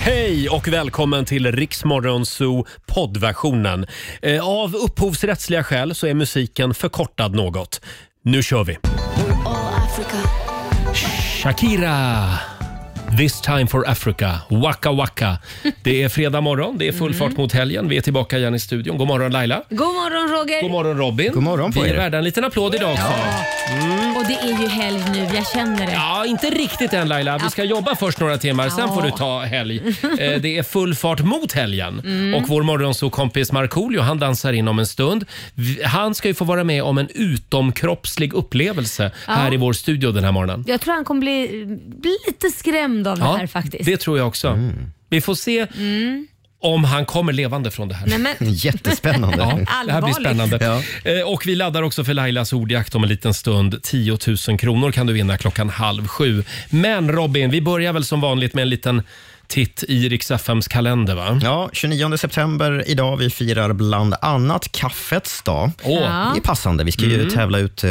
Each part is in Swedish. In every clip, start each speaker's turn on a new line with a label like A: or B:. A: Hej och välkommen till Riksmorgon Zoo poddversionen. Eh, Av upphovsrättsliga skäl så är musiken förkortad något. Nu kör vi! Shakira! This time for Africa, Waka Waka. Det är fredag morgon, det är full fart mot helgen. Vi är tillbaka igen i studion. God morgon Laila!
B: God morgon Roger!
A: God morgon Robin! God
C: morgon på
A: Vi är
C: er.
A: värda en liten applåd idag också.
B: Mm, Och det är ju helg nu, jag känner det.
A: Ja, inte riktigt än Laila. Vi ska jobba först några timmar, sen
B: Ja.
A: får du ta helg. Eh, Det är full fart mot helgen.
B: Mm.
A: Och vår morgonsåkompis Markoolio, han dansar in om en stund. Vi- Han ska ju få vara med om en utomkroppslig upplevelse här i vår studio den här morgonen.
B: Jag tror han kommer bli, bli lite skrämd av det här faktiskt. Mm.
A: det tror jag också. Vi får se om han kommer levande från det här.
B: Nej, men,
C: Jättespännande.
A: Ja, det här blir
B: Allvarligt.
A: spännande. Eh, Och vi laddar också för Lailas ordjakt om en liten stund. 10 000 kronor kan du vinna klockan halv sju. Men Robin, vi börjar väl som vanligt med en liten titt i Rix FMs kalender va?
C: Ja, 29 september idag. Vi firar bland annat kaffets dag.
A: Åh, Mm.
B: Ja.
C: Det är passande. Vi ska ju tävla ut eh,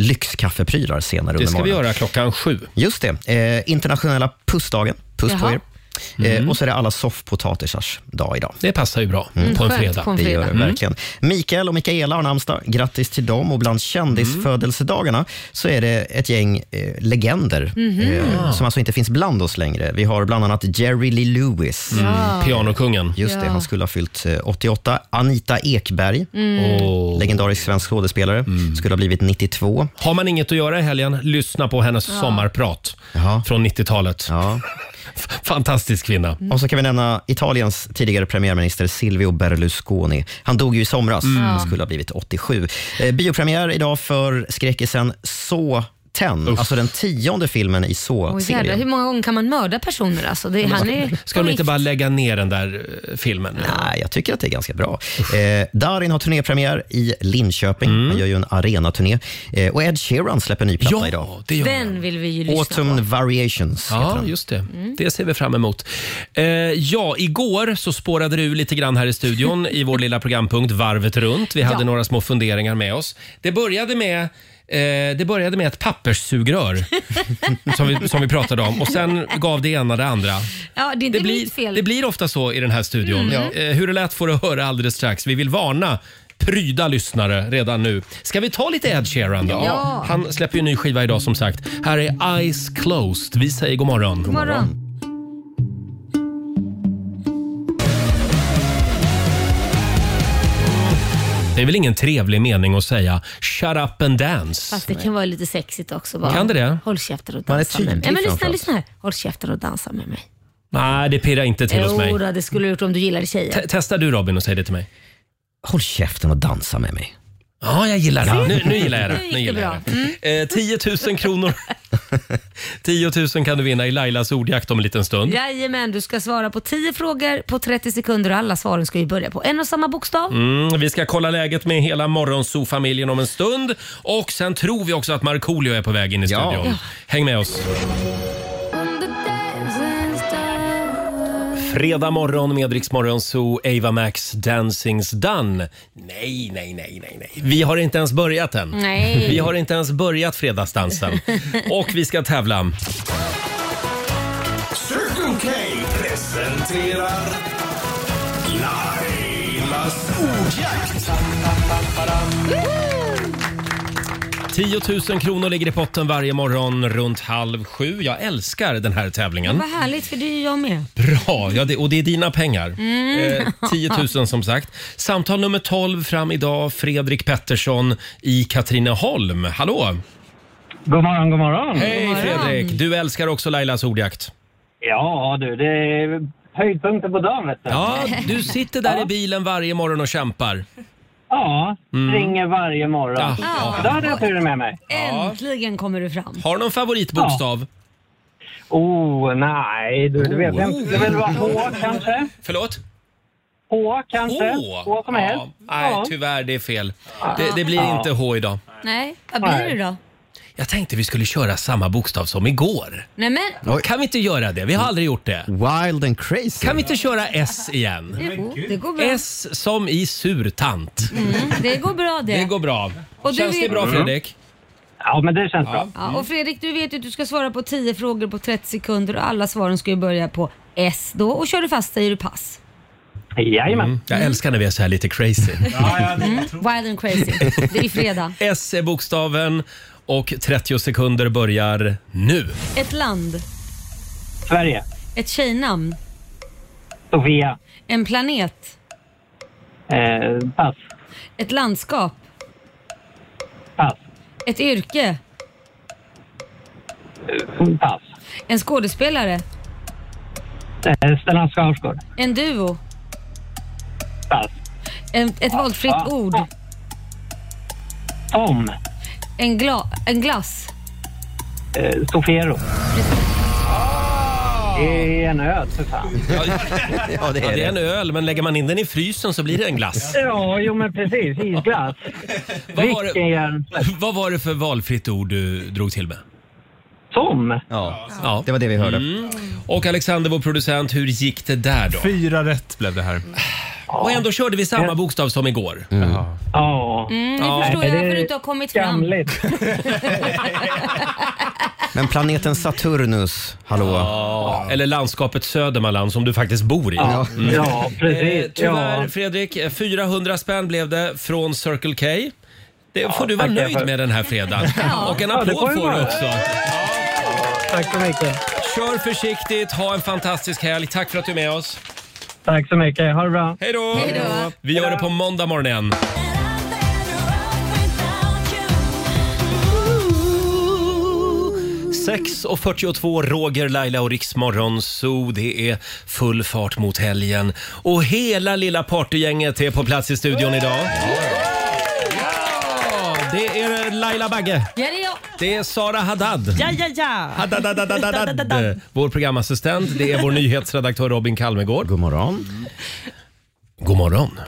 C: lyxkaffeprylar senare
A: det
C: under
A: ska vi
C: morgonen.
A: göra klockan sju.
C: Just det. Eh, internationella pussdagen. Puss på
B: Jaha.
C: er. Eh, och så är det alla soffpotatisars dag idag. Mm.
A: Mm. Det passar ju bra på en
B: skönt,
A: fredag. Mm.
B: kom.
C: Det gör det
B: fredag.
C: verkligen. Mikael och Mikaela har namnsdag. Grattis till dem. Och bland kändisfödelsedagarna så är det ett gäng eh, legender
A: Mhm.
C: eh, som alltså inte finns bland oss längre. Vi har bland annat Jerry Lee Lewis.
A: Mm.
C: Eh,
A: Pianokungen.
C: Just det,
B: Ja.
C: han skulle ha fyllt eh, 88. Anita Ekberg,
B: Mm.
A: Och
C: legendarisk svensk skådespelare,
A: Mm.
C: skulle ha blivit 92.
A: har man inget att göra i helgen, lyssna på hennes sommarprat
C: Jaha.
A: från 90-talet.
C: Ja.
A: Fantastisk kvinna.
B: Mm.
C: Och så kan vi nämna Italiens tidigare premiärminister Silvio Berlusconi. Han dog ju i somras.
A: Mm.
C: Han skulle ha blivit 87. Eh, biopremiär idag för skräckisen Så 10, alltså den tionde filmen i
B: Oj, jävlar, hur
C: Så-serien.
B: många gånger kan man mörda personer alltså? Det, han är,
A: Ska de inte bara lägga ner den där eh, filmen? nu?
C: Nej, jag tycker att det är ganska bra. Eh, Darin har turnépremiär i Linköping. Han gör ju en arenaturné. Eh, och Ed Sheeran släpper ny platta idag.
A: Mm. Ja, det gör den.
B: Den vill vi ju lyssna på.
C: Autumn Variations heter
A: Ja,
C: den. Mm.
A: just det. Det ser vi fram emot. Eh, ja, igår så spårade du lite grann här i studion i vår lilla programpunkt Varvet runt. Vi hade
B: Ja.
A: några små funderingar med oss. Det började med Eh, det började med ett papperssugrör som, vi, som vi pratade om och sen gav det ena det andra.
B: Ja, det är inte
A: Det blir,
B: mitt fel.
A: det blir ofta så i den här
B: Mm.
A: studion. Eh, hur det lät får du höra alldeles strax. Vi vill varna pryda lyssnare redan nu. Ska vi ta lite Ed Sheeran då?
B: Ja.
A: Han släpper ju ny skiva idag som sagt. Här är Eyes Closed. Vi säger god morgon.
B: God morgon.
A: Det är väl ingen trevlig mening att säga “shut up and dance”?
B: Fast det kan vara lite sexigt också. Bara.
A: Kan det det?
B: Håll käften och
C: Man är
B: dansa med mig.
C: tydlig
B: Nej, men lyssna,
C: framförallt.
B: lyssna här. Håll käften och dansa med mig.
A: Nej, det pirrar inte till hos mig.
B: Jo, då, det skulle du gjort om du gillade tjejer.
A: T- Testa du Robin och säg det till mig.
C: Håll käften och dansa med mig.
A: Ja, jag gillar det. Nu, nu gillar jag det.
B: Nu gick
A: Nu
B: det
A: gillar jag det. Eh, 10 000 kronor. 10 000 kan du vinna i Lailas ordjakt om en liten stund.
B: Jajamän, du ska svara på 10 frågor på 30 sekunder och alla svaren ska ju börja på en och samma bokstav.
A: Mm, vi ska kolla läget med hela Morgonzoo-familjen om en stund. Och sen tror vi också att Markoolio är på väg in i
C: Ja.
A: studion. Häng med oss. Fredag morgon med Rix Morgonzoo, Ava Max, Dancing's Done. Nej, nej, nej, nej, nej. Vi har inte ens börjat än.
B: Nej.
A: Vi har inte ens börjat fredagsdansen. Och vi ska tävla.
D: Circle K presenterar Lailas ordjakt.
A: 10 000 kronor ligger i potten varje morgon runt halv sju. Jag älskar den här tävlingen.
B: Vad härligt, för det är ju jag med.
A: Bra, ja, det, och det är dina pengar. Eh, 10 000 som sagt. Samtal nummer 12 fram idag, Fredrik Pettersson i Katrineholm. Hallå!
E: God morgon, god morgon.
A: Hej
B: morgon.
A: Fredrik! Du älskar också Lailas ordjakt.
E: Ja du, det är höjdpunkten på dagen vet du.
A: Ja, du sitter där i bilen varje morgon och kämpar.
E: Ja,
A: Mm.
E: ringer varje morgon.
A: Ja.
E: Då hade jag turen med mig.
B: Äntligen kommer du fram.
A: Har du någon favoritbokstav?
E: Oh, nej du, det vet jag inte. Det vill vara H kanske?
A: Oh. Förlåt?
E: H kanske?
A: Åh!
E: H som helst?
A: Ja, nej, tyvärr, det är fel. Det, det blir inte H idag.
B: Nej, vad blir
E: Nej.
B: det då?
A: Jag tänkte vi skulle köra samma bokstav som igår.
B: Nej men,
A: Kan vi inte göra det? Vi har aldrig gjort det.
C: Wild and crazy.
A: Kan vi inte köra S igen?
B: jo, det går bra. Mm,
A: S som i surtant.
B: Det går bra det.
A: Det går bra.
B: Och du
A: Känns det
B: vet-
A: bra Fredrik?
E: Mm. Ja, men det känns bra.
A: Mm.
B: Ja, och Fredrik, du vet ju att du ska svara på 10 frågor på 30 sekunder och alla svaren ska ju börja på S då och körde fast dig i pass.
E: Jajamän.
A: Mm. Jag älskar när vi är så här lite crazy.
B: Mm. Wild and crazy. Det är fredag.
A: S är bokstaven och 30 sekunder börjar nu.
B: Ett land.
E: Sverige.
B: Ett tjejnamn.
E: Sofia.
B: En planet.
E: Eh, pass.
B: Ett landskap.
E: Pass.
B: Ett yrke.
E: Pass.
B: En skådespelare.
E: Eh, Stellan Skarsgård.
B: En duo.
E: Pass.
B: En, ett valfritt ord.
E: Tom.
B: En, gla, en glass.
E: Eh, Sofiero.
A: Ah.
E: Det är en öd för fan.
C: Ja, det
A: Ja,
C: är
A: det är en
C: det.
A: öl, men lägger man in den i frysen så blir det en glass.
E: Ja, jo men precis. Isglass.
A: Vad var det-
E: Vilken hjärnsläpp.
A: Vad var det för valfritt ord du drog till med?
E: Tom.
C: Ja,
A: Ja. Mm.
C: det var det vi hörde.
A: Och Alexander, vår producent, hur gick det där då?
F: Fyra rätt blev det här.
A: Och ändå körde vi samma bokstav som igår.
F: Jaha.
E: Ja.
B: Mm, nu förstår jag
E: det är
B: varför du inte har kommit fram.
E: Skamligt.
C: Men planeten Saturnus, hallå?
A: Eller landskapet Södermanland som du faktiskt bor i.
E: Ja, ja
A: Eh,
E: precis.
A: tyvärr
E: Ja.
A: Fredrik, eh, 400 spänn blev det från Circle K. Det får du vara
E: tack, jag
A: nöjd
E: får-
A: med den här fredagen. Och en
E: det
A: applåd
E: får jag
A: får du
E: vara.
A: också.
E: Tack så mycket.
A: Kör försiktigt, ha en fantastisk helg. Tack för att du är med oss.
E: Tack så mycket. Ha det bra.
A: Hej då!
B: Hej då.
A: Vi gör det på måndag morgon igen.
G: Ooh.
A: 6.42, Roger, Laila och Riksmorgon Zoo. Det är full fart mot helgen. Och hela lilla partygänget är på plats i studion idag. Ja, Det är Laila Bagge.
B: Ja, det är jag.
A: Det är Sara Haddad.
H: Ja, ja, ja.
A: Haddadadadadad. Vår programassistent, det är vår nyhetsredaktör Robin Kalmegård.
C: God morgon.
A: God morgon.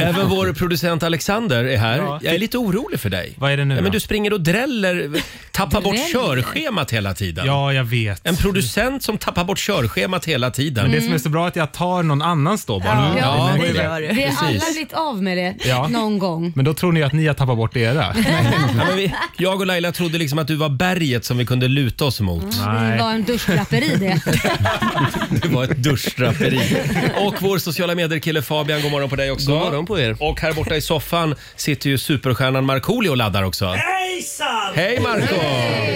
A: Även vår producent Alexander är här. Jag är lite orolig för dig.
F: Vad är det nu
A: Ja,
F: då?
A: Men du springer och dräller, tappar bort
B: Dräller?
A: körschemat hela tiden.
F: Ja, jag vet.
A: En producent som tappar bort körschemat hela tiden.
F: Det som är så bra är att jag tar någon annans då bara. Mm.
B: Ja,
F: det
B: det
H: gör du.
B: Vi har alla
A: Precis.
B: blivit av med det
F: Ja.
B: någon gång.
F: Men då tror ni att ni har tappat bort era.
A: Ja, men vi, jag och Laila trodde liksom att du var berget som vi kunde luta oss mot.
B: Det
F: Nej.
B: var en duschdraperi det.
A: Det var ett duschdraperi. Och vår sociala medier-kille Fabian, god morgon på dig också. God morgon på er. Och här borta i soffan sitter ju superstjärnan Markoolio och laddar också.
I: Hejsan!
A: Hej Marco!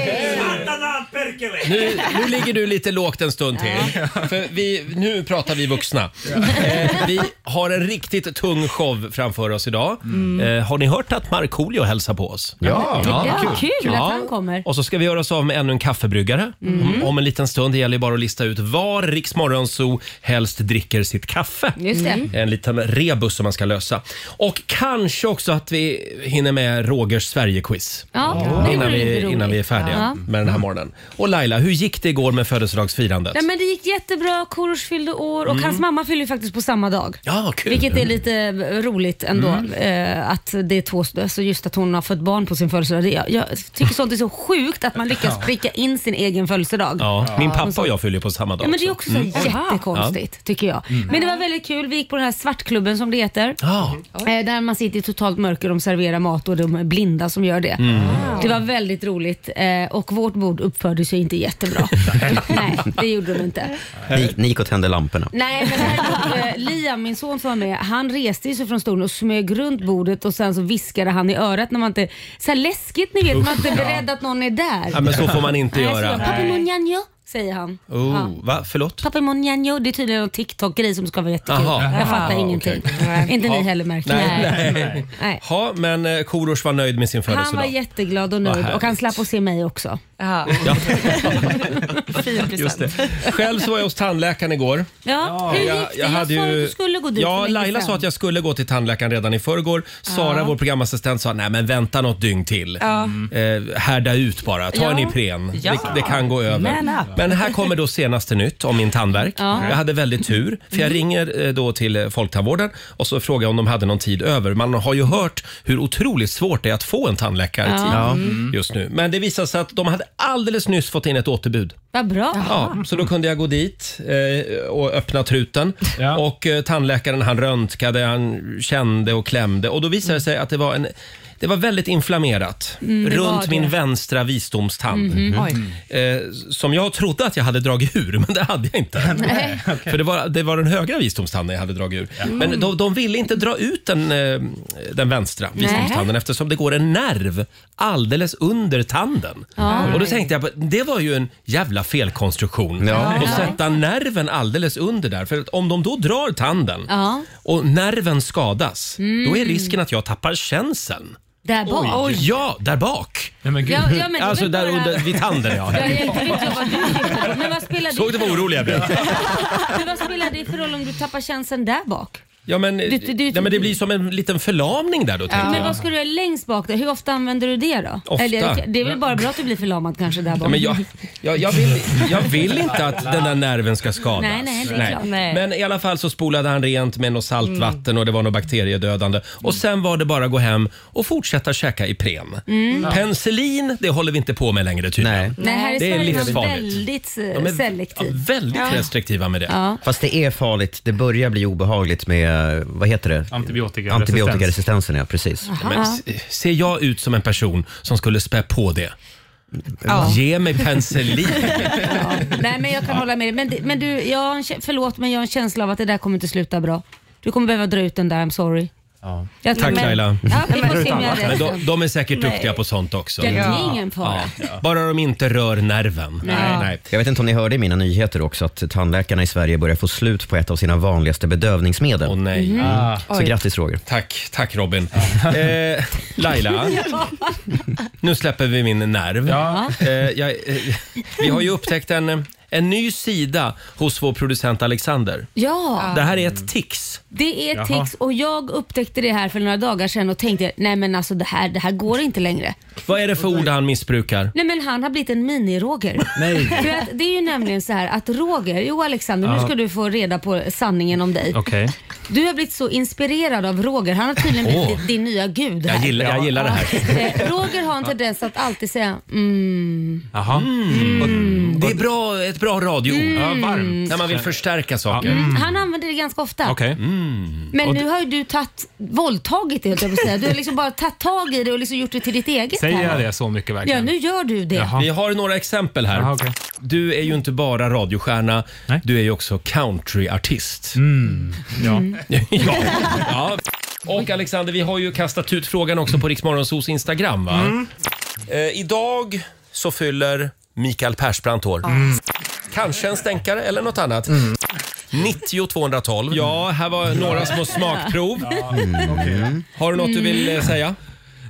I: Satanan Perkele!
A: Nu, nu ligger du lite lågt en stund till. För vi, nu pratar vi vuxna. Eh, vi har en riktigt tung show framför oss idag. Eh, har ni hört att Markoolio hälsar på oss?
C: Ja.
B: Ja, kul, att
A: Ja.
B: han kommer.
A: Och så ska vi göra oss av med ännu en kaffebryggare.
B: Mm.
A: Om, om en liten stund. Det gäller ju bara att lista ut var Rix Morgonzoo helst dricker sitt kaffe. Mm.
B: Just det.
A: En liten rebus som man ska lösa. Och kanske också att vi hinner med Rogers Sverige-quiz.
B: Ja, det
A: Innan
B: vore
A: vi,
B: lite roligt.
A: innan vi är färdiga
B: Ja.
A: med den här morgonen. Och Laila, hur gick det igår med födelsedagsfirandet?
B: Nej, men det gick jättebra, Korosh fyllde år och hans mamma fyllde ju faktiskt på samma dag.
A: Mm. Ja, kul. Mm.
B: Vilket är lite roligt ändå, eh, att det är två, alltså just att hon har fått barn på sin födelsedag. Det, jag, jag tycker sånt är så sjukt att man lyckas pricka in sin egen födelsedag.
A: Ja, min pappa och jag fyller på samma dag.
B: Ja, men det är
A: också. Mm.
B: också så jättekonstigt tycker jag. Men det var väldigt kul. Vi gick på den här svartklubben som det heter.
A: Ja,
B: Eh, där man sitter i totalt mörker och de serverar mat och de är blinda som gör det.
A: Mm.
B: Det var väldigt roligt eh, och vårt bord uppfördes ju inte jättebra. Nej, det gjorde de inte.
C: Ni, ni gick och tände lamporna.
B: Nej, men här, eh, Liam, min son som var med, han reste ju sig från stolen och smög runt bordet och sen så viskade han i örat när man inte... Så här läskigt ni vet, man är inte beredd att någon är där.
A: ja, men så får man inte
B: Nej, så bara,
A: göra.
B: Papi Monjanjo, säger han. Ja.
A: Oh, va? Förlåt?
B: Papi Monjanjo, det är tydligen en TikTok-grej som ska vara jättekul.
A: Jaha.
B: Jag fattar
A: Ah,
B: ingenting. Inte ni heller märker
A: Nej,
B: jag.
A: nej.
B: Nej.
A: Ja, men eh, Korosh var nöjd med sin
B: Han var
A: födelsedag.
B: jätteglad och
A: Vad
B: nöjd
A: härligt.
B: och han slapp att se mig också.
H: ja. Fin
A: Just
H: present.
A: det. Själv så var jag hos tandläkaren igår.
B: Ja, hur gick det? Jag, sa att du skulle gå dit för
A: Ja,
B: länge
A: Laila
B: sedan.
A: sa att jag skulle gå till tandläkaren redan i förrgår. Sara, vår programassistent, sa nej men vänta något dygn till. Eh, härda ut bara, ta
H: Ja.
A: en Ipren.
H: Ja.
A: Det, det kan gå över.
H: Man up.
A: Men här kommer då senaste nytt om min tandvärk. Jag hade väldigt tur, för
B: Mm.
A: jag ringer eh, då till eh, Folktandvården och så frågar jag om de hade någon tid över. Man har ju hört hur otroligt svårt det är att få en tandläkare
B: Mm.
A: just nu. Men det visade sig att de hade alldeles nyss fått in ett återbud.
B: Vad bra.
A: Ja, så då kunde jag gå dit eh, och öppna truten.
F: Ja.
A: Och eh, tandläkaren han röntgade, han kände och klämde. Och då visade det sig att det var en det var väldigt inflammerat
B: Mm, det var
A: runt
B: det.
A: min vänstra visdomstand.
B: Mhm. Oj.
A: Eh, som jag trodde att jag hade dragit ur, men det hade jag inte.
B: Nej.
A: För det var, det var den högra visdomstanden jag hade dragit ur. Men de, de ville inte dra ut den, eh, den vänstra
B: Nej.
A: visdomstanden eftersom det går en nerv alldeles under tanden.
B: Ja.
A: Och då tänkte jag, det var ju en jävla felkonstruktion.
B: Ja.
A: Att sätta nerven alldeles under där. För att om de då drar tanden
B: Ja,
A: och nerven skadas,
B: Mm.
A: då är risken att jag tappar känseln.
B: där bak.
A: Ja, där bak.
B: gud. Ja, ja, men det
A: alltså
B: var
A: där
B: bara-
A: under, vid tanden ja.
B: Jag hjälpte inte vad du hittade på. Men vad spelar det
A: Såg du vad orolig jag blev?
B: Men vad spelar det för roll om du tappar känseln där bak?
A: Ja men,
B: Du- du- du-
A: nej, men det blir som en liten förlamning där då tänkte
B: Men
A: jag.
B: vad ska du göra längst bak där? Hur ofta använder du det då?
A: Ofta.
B: det- det är väl bara bra att du blir förlamad kanske där bak?
A: Ja, men jag, jag, jag, vill, jag vill inte att den där nerven ska skadas.
B: Nej, nej, det är klart. Nej. Mm.
A: Men i alla fall så spolade han rent med något saltvatten och det var något bakteriedödande. Och sen var det bara att gå hem och fortsätta käka Ipren.
B: Mm.
A: Penicillin, det håller vi inte på med längre tydligen.
B: Nej, här i
A: det är
B: Sverige är man
A: livsfarligt.
B: väldigt
A: De är-
B: eh, selektiv.
A: ja, väldigt
B: Ja.
A: restriktiva med det.
B: Ja.
C: Fast det är farligt. Det börjar bli obehagligt med, vad heter det?
F: Antibiotikaresistens.
C: Antibiotikaresistensen, ja precis.
A: Ja, Men, se- ser jag ut som en person som skulle spä på det?
B: Ja.
A: Ge mig penicillin.
B: Nej men jag kan hålla med dig. Men, det- men du, jag har en, kä- förlåt men jag har en känsla av att det där kommer inte sluta bra. Du kommer behöva dra ut den där, I'm sorry. Jag tror-
A: Tack
B: men-
A: Laila.
B: Ja, vi får se om jag är
A: Men
B: rätt.
A: de, de är säkert
B: Nej.
A: duktiga på sånt också.
B: Ja, det är ingen fara.
A: Ja. Bara de inte rör nerven.
B: Nej.
A: Nej.
C: Jag vet inte om ni hörde i mina nyheter också att tandläkarna i Sverige börjar få slut på ett av sina vanligaste bedövningsmedel.
A: Åh, nej. Mhm. Ah.
C: Så
A: Oj.
C: grattis Roger.
A: Tack, tack Robin. Eh, Laila, nu släpper vi min nerv. Eh, jag, eh, vi har ju upptäckt en, en ny sida hos vår producent Alexander.
B: Ja.
A: Det här är ett tics.
B: Det är
A: Jaha.
B: ett tics och jag upptäckte det här för några dagar sedan och tänkte nej men alltså det här, det här går inte längre.
A: Vad är det för ord han missbrukar?
B: Nej men han har blivit en mini-Roger.
A: Nej.
B: För att det är ju nämligen så här att Roger, jo Alexander nu
A: Ja.
B: ska du få reda på sanningen om dig.
A: Okej.
B: Du har blivit så inspirerad av Roger, han har tydligen blivit
A: Åh.
B: din nya gud. Här.
A: Jag gillar, jag gillar det här.
B: Eh, Roger har en tendens att alltid säga mm.
A: Jaha. Och Mm. Det är bra, ett bra radioord.
B: Ja, varmt.
A: När man vill förstärka saker.
B: Mm. Han använder det ganska ofta.
A: Mm.
B: Men
A: Och
B: nu har ju du tagit, våldtagit det höll jag på att säga. Du har liksom bara tagit tag i det och liksom gjort det till ditt eget.
A: Säger
B: här.
A: jag det?
F: Så mycket verkligen.
B: Ja, nu gör du det.
A: Vi har några exempel här. Du är ju inte bara radiostjärna, du är ju också countryartist. Mm. Ja. ja. ja. Och Alexander, vi har ju kastat ut frågan också på Riksmorgonsos Instagram. Va? Eh, idag så fyller Mikael Persbrandt år. Kanske en stänkare eller något annat. 90 212. Ja, här var några små smakprov. Mm. Har du något du vill
F: Mm.
A: eh, säga?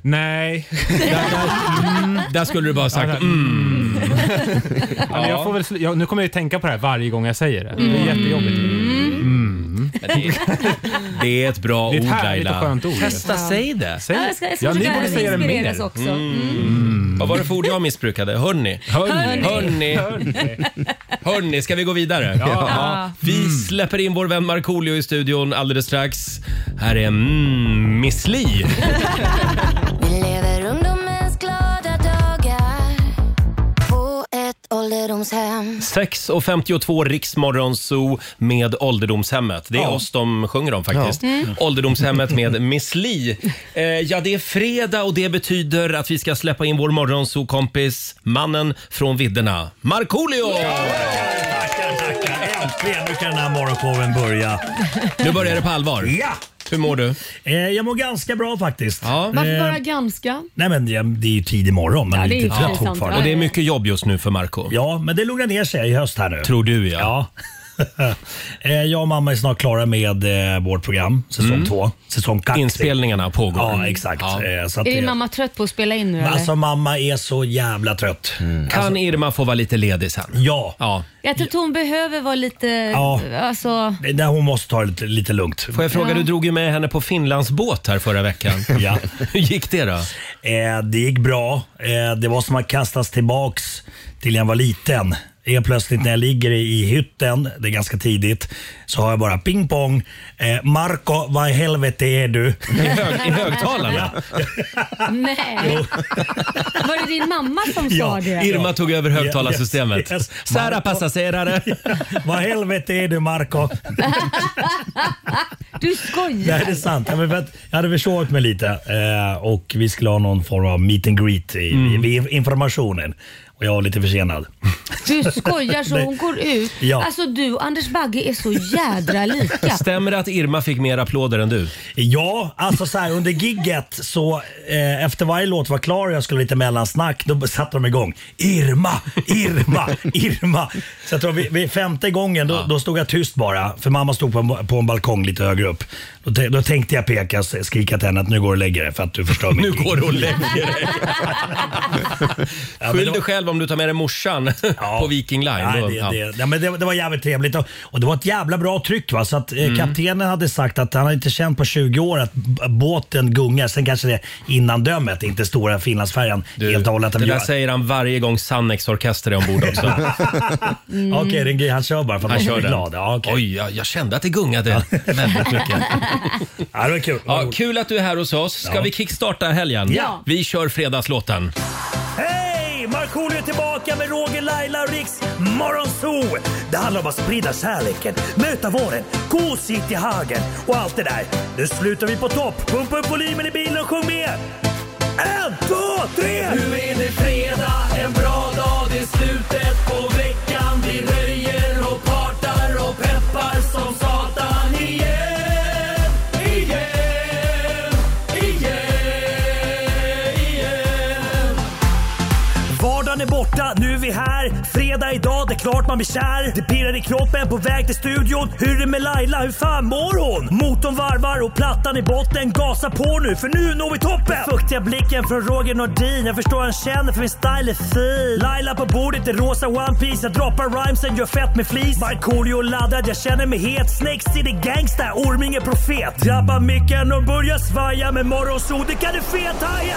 A: Nej. Där, där, mm, där skulle du bara ha sagt mm.
F: Alltså, Ja, men jag får väl, sl- jag, nu kommer jag ju tänka på det här varje gång jag säger det. Det är jättejobbigt.
A: Det är ett bra
F: Det är ett härligt
A: ord
F: och
A: Laila.
F: skönt ord.
A: Testa, säg det.
B: Säg det. Ja, jag ska- jag ska
A: Ja, ni
B: försöka
A: borde säga det
B: inspireras
A: mer.
B: också.
F: Mm.
A: Vad var det för ord jag missbrukade? Hörni.
B: Hörni.
A: Hörni. Hörni, ska vi gå vidare?
G: Ja. Ja.
F: Mm.
A: Vi släpper in vår vän Markoolio i studion alldeles strax. Här är mm, Miss Li.
G: Vi lever ungdomens glada dagar på ett ålderdomshem.
A: 6.52 Riksmorgon Zoo med Ålderdomshemmet. Det är
G: Ja.
A: oss de sjunger om faktiskt.
G: Ja. Mm.
A: Ålderdomshemmet med Miss Li. Eh, ja, det är fredag och det betyder att vi ska släppa in vår morgonzoo-kompis, mannen från vidderna, Markoolio!
I: Äntligen, nu kan den här morgonshowen börja.
A: Nu börjar det på allvar.
I: Ja! Eh,
A: Hur mår du?
I: Jag mår ganska bra faktiskt.
J: Varför
I: Eh,
J: bara ganska?
I: Nej men det- det är ju tidig morgon men
J: Ja,
I: ja,
J: det är
I: lite
J: ju
I: trött
J: sant.
I: fortfarande.
J: Och det är
A: mycket jobb just nu för Marco
I: Ja, men det lugnar ner sig i höst här nu.
A: Tror du ja.
I: Eh, Jag och mamma är snart klara med eh, vårt program, säsong
A: Mm.
I: två. Säsong kaxig.
A: Inspelningarna pågår.
I: Ja, exakt. Eh, Så
B: Är
I: att
B: din
I: det-
B: mamma trött på att spela in nu eller?
I: Alltså mamma är så jävla trött.
A: Mm.
I: Alltså-
A: Kan Irma få vara lite ledig sen?
I: Ja.
A: ja.
B: jag tror att hon behöver vara lite...
I: Ja.
B: Alltså,
I: Det- där hon måste ta det lite, lite lugnt. Får
A: jag fråga,
B: Ja.
A: du drog ju med henne på Finlands båt här förra veckan.
I: ja.
A: Hur gick det då?
I: Eh, det gick bra. Eh, det var som att kastas tillbaks till jag var liten. Helt plötsligt när jag ligger i- i hytten, det är ganska tidigt, så har jag bara ping pong. Eh, Marco, vad i helvete är du?
A: I, hög, i högtalarna.
B: Nej. Var det din mamma som sa
I: Ja,
B: det?
A: Irma tog över högtalarsystemet.
I: Yes, yes.
A: Sära
I: Marco-
A: passagerare.
I: Vad i helvete är du Marco?
B: Du
I: Nej,
B: skojar?
I: det är sant. Ja, men för att jag hade försovit mig lite eh, och vi skulle ha någon form av meet and greet i, vid informationen. Och jag var lite försenad.
B: Du skojar så
I: Nej.
B: hon går ut?
I: Ja.
B: Alltså du och Anders Bagge är så jädra lika.
A: Stämmer det att Irma fick mer applåder än du?
I: Ja, alltså så här under gigget så eh, efter varje låt var klar och jag skulle ha lite mellansnack, då satte de igång. Irma, Irma, Irma. Så jag tror vid, vid femte gången då, då stod jag tyst bara, för mamma stod på en, på en balkong lite högre upp. Då, te- då tänkte jag peka och skrika till henne att nu går du och lägger dig för att du förstör mitt
A: Nu
I: gig.
A: går du och lägger dig.
I: Ja, men
A: Skyll
I: då-
A: dig själv om du tar med dig morsan
I: Ja.
A: på Viking Line.
I: Nej,
A: Då-
I: det,
A: ja.
I: det, nej, men det, det var jävligt trevligt och, och det var ett jävla bra tryck. Va? Så att, eh,
A: Mm.
I: Kaptenen hade sagt att han hade inte känt på 20 år att b- båten gungar. Sen kanske det innan dömet inte stora Finlandsfärjan
A: Du,
I: helt och hållet.
A: det där
I: gör.
A: säger han varje gång Sannex orkester är ombord också.
I: Okej, det är en grej. han kör bara för att
A: Han
I: han
A: kör
I: blir
A: den.
I: glad. Ja, okay.
A: Oj, jag, jag kände att det gungade väldigt mycket.
I: ja, det var kul.
A: Ja, kul att du är här hos oss. Ska
I: Ja.
A: vi kickstarta helgen?
I: Ja.
A: Vi kör fredagslåten.
I: Hej! Markoolio är tillbaka med Roger, Laila och Riks Morgonzoo! Det handlar om att sprida kärleken, möta våren, gosigt i hagen och allt det där. Nu slutar vi på topp! Pumpa upp volymen i bilen och sjung med! En, två, tre! Nu är det fredag, en bra dag, det är slutet på veckan. Vi röjer och partar och peppar som satan igen, igen, igen, igen. Vardagen är borta, nu är vi här. Fredag idag, det är klart man blir kär. Det pirrar i kroppen på väg till studion. Hur är det med Laila, hur fan mår hon? Motorn varvar och plattan i botten. Gasa på nu, för nu når vi toppen! Den fuktiga blicken från Roger Nordin. Jag förstår han känner för min style är fin. Laila på bordet i rosa One Piece Jag droppar rhymesen, gör fett med flis. Markoolio laddad, jag känner mig het. Snake City gangsta, Orminge profet. Drabbar micken och börjar svaja. Med morgonsol, det kan du fethaja!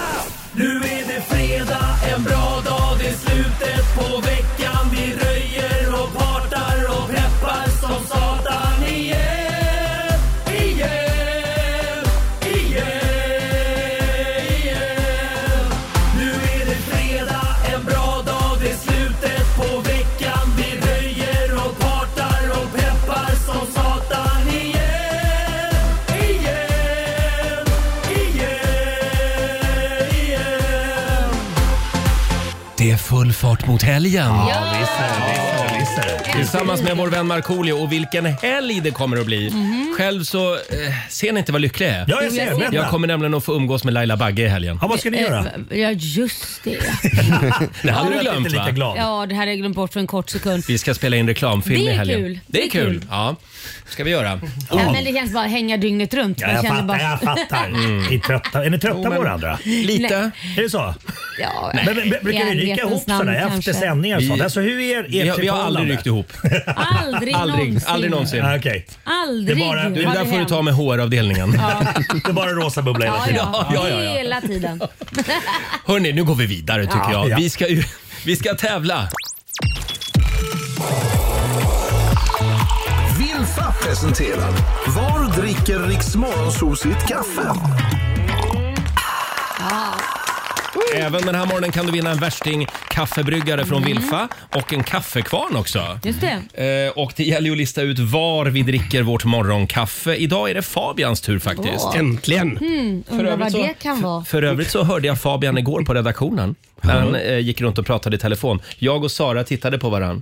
I: Nu är det fredag, en bra dag, det är slutet på veckan. Vi röjer och partar och peppar som satan igen, igen, igen, igen. Nu är det fredag, en bra dag, det är slutet på veckan. Vi röjer och partar och peppar som satan igen, igen, igen, igen.
A: Det är full fart mot helgen.
I: Ja,
A: Tillsammans med vår vän Markoolio och vilken helg det kommer att bli. Själv så eh, ser ni inte vad lycklig jag är.
I: Mhm. jag ser. Vänta.
A: Jag kommer nämligen att få umgås med Laila Bagge i helgen.
I: Ja, vad ska ni
B: Eh,
I: göra?
B: Ja, just det.
A: Det hade du
I: Jag är
A: glömt
I: inte lika
A: va?
I: glad.
B: Ja, det här hade jag glömt bort för en kort sekund.
A: Vi ska spela in reklamfilm
B: Det är
A: i helgen.
B: kul.
A: Det är kul. Ja, ska vi göra.
B: Ja, men det känns bara hänga dygnet runt.
I: Ja,
B: Man
I: jag
B: känner
I: fattar,
B: bara, Mm.
I: jag fattar. Ni är, trötta. är ni trötta på varandra?
A: Lite.
I: Är det så?
B: ja,
I: Men, men,
B: i
I: brukar ni rycka
B: ärlighetens
I: ihop
B: namn
I: sådär efter
B: kanske.
I: sändningar och
A: Vi-
I: sånt? Alltså hur är ert
A: Vi har, vi har aldrig
I: förhållande?
A: ryckt ihop.
B: Aldrig,
A: Aldrig,
B: någonsin.
A: aldrig någonsin.
I: Ah, Okej.
B: Aldrig
I: Det är bara-
B: har
A: Du, det där får du
B: hänt.
A: ta med HR-avdelningen.
I: Det är bara rosa bubblor hela
B: Ja,
I: tiden.
B: ja.
A: Ja, ja, ja, ja.
B: Hela tiden.
A: Hörni, nu går vi vidare tycker
I: Ja,
A: jag.
I: ja.
A: Vi ska, ju- vi ska tävla.
D: Vilfa presenterar Var dricker Riks Morgonzoo sitt kaffe?
A: Även den här morgonen kan du vinna en värsting kaffebryggare från Wilfa och en kaffekvarn också.
B: Just det.
A: Eh, och det gäller ju att lista ut var vi dricker vårt morgonkaffe. Idag är det Fabians tur faktiskt.
J: Äntligen!
B: Hmm, Undrar vad
A: övrigt så-
B: det kan vara.
A: För övrigt så hörde jag Fabian igår på redaktionen. När han eh, gick runt och pratade i telefon. Jag och Sara tittade på varandra.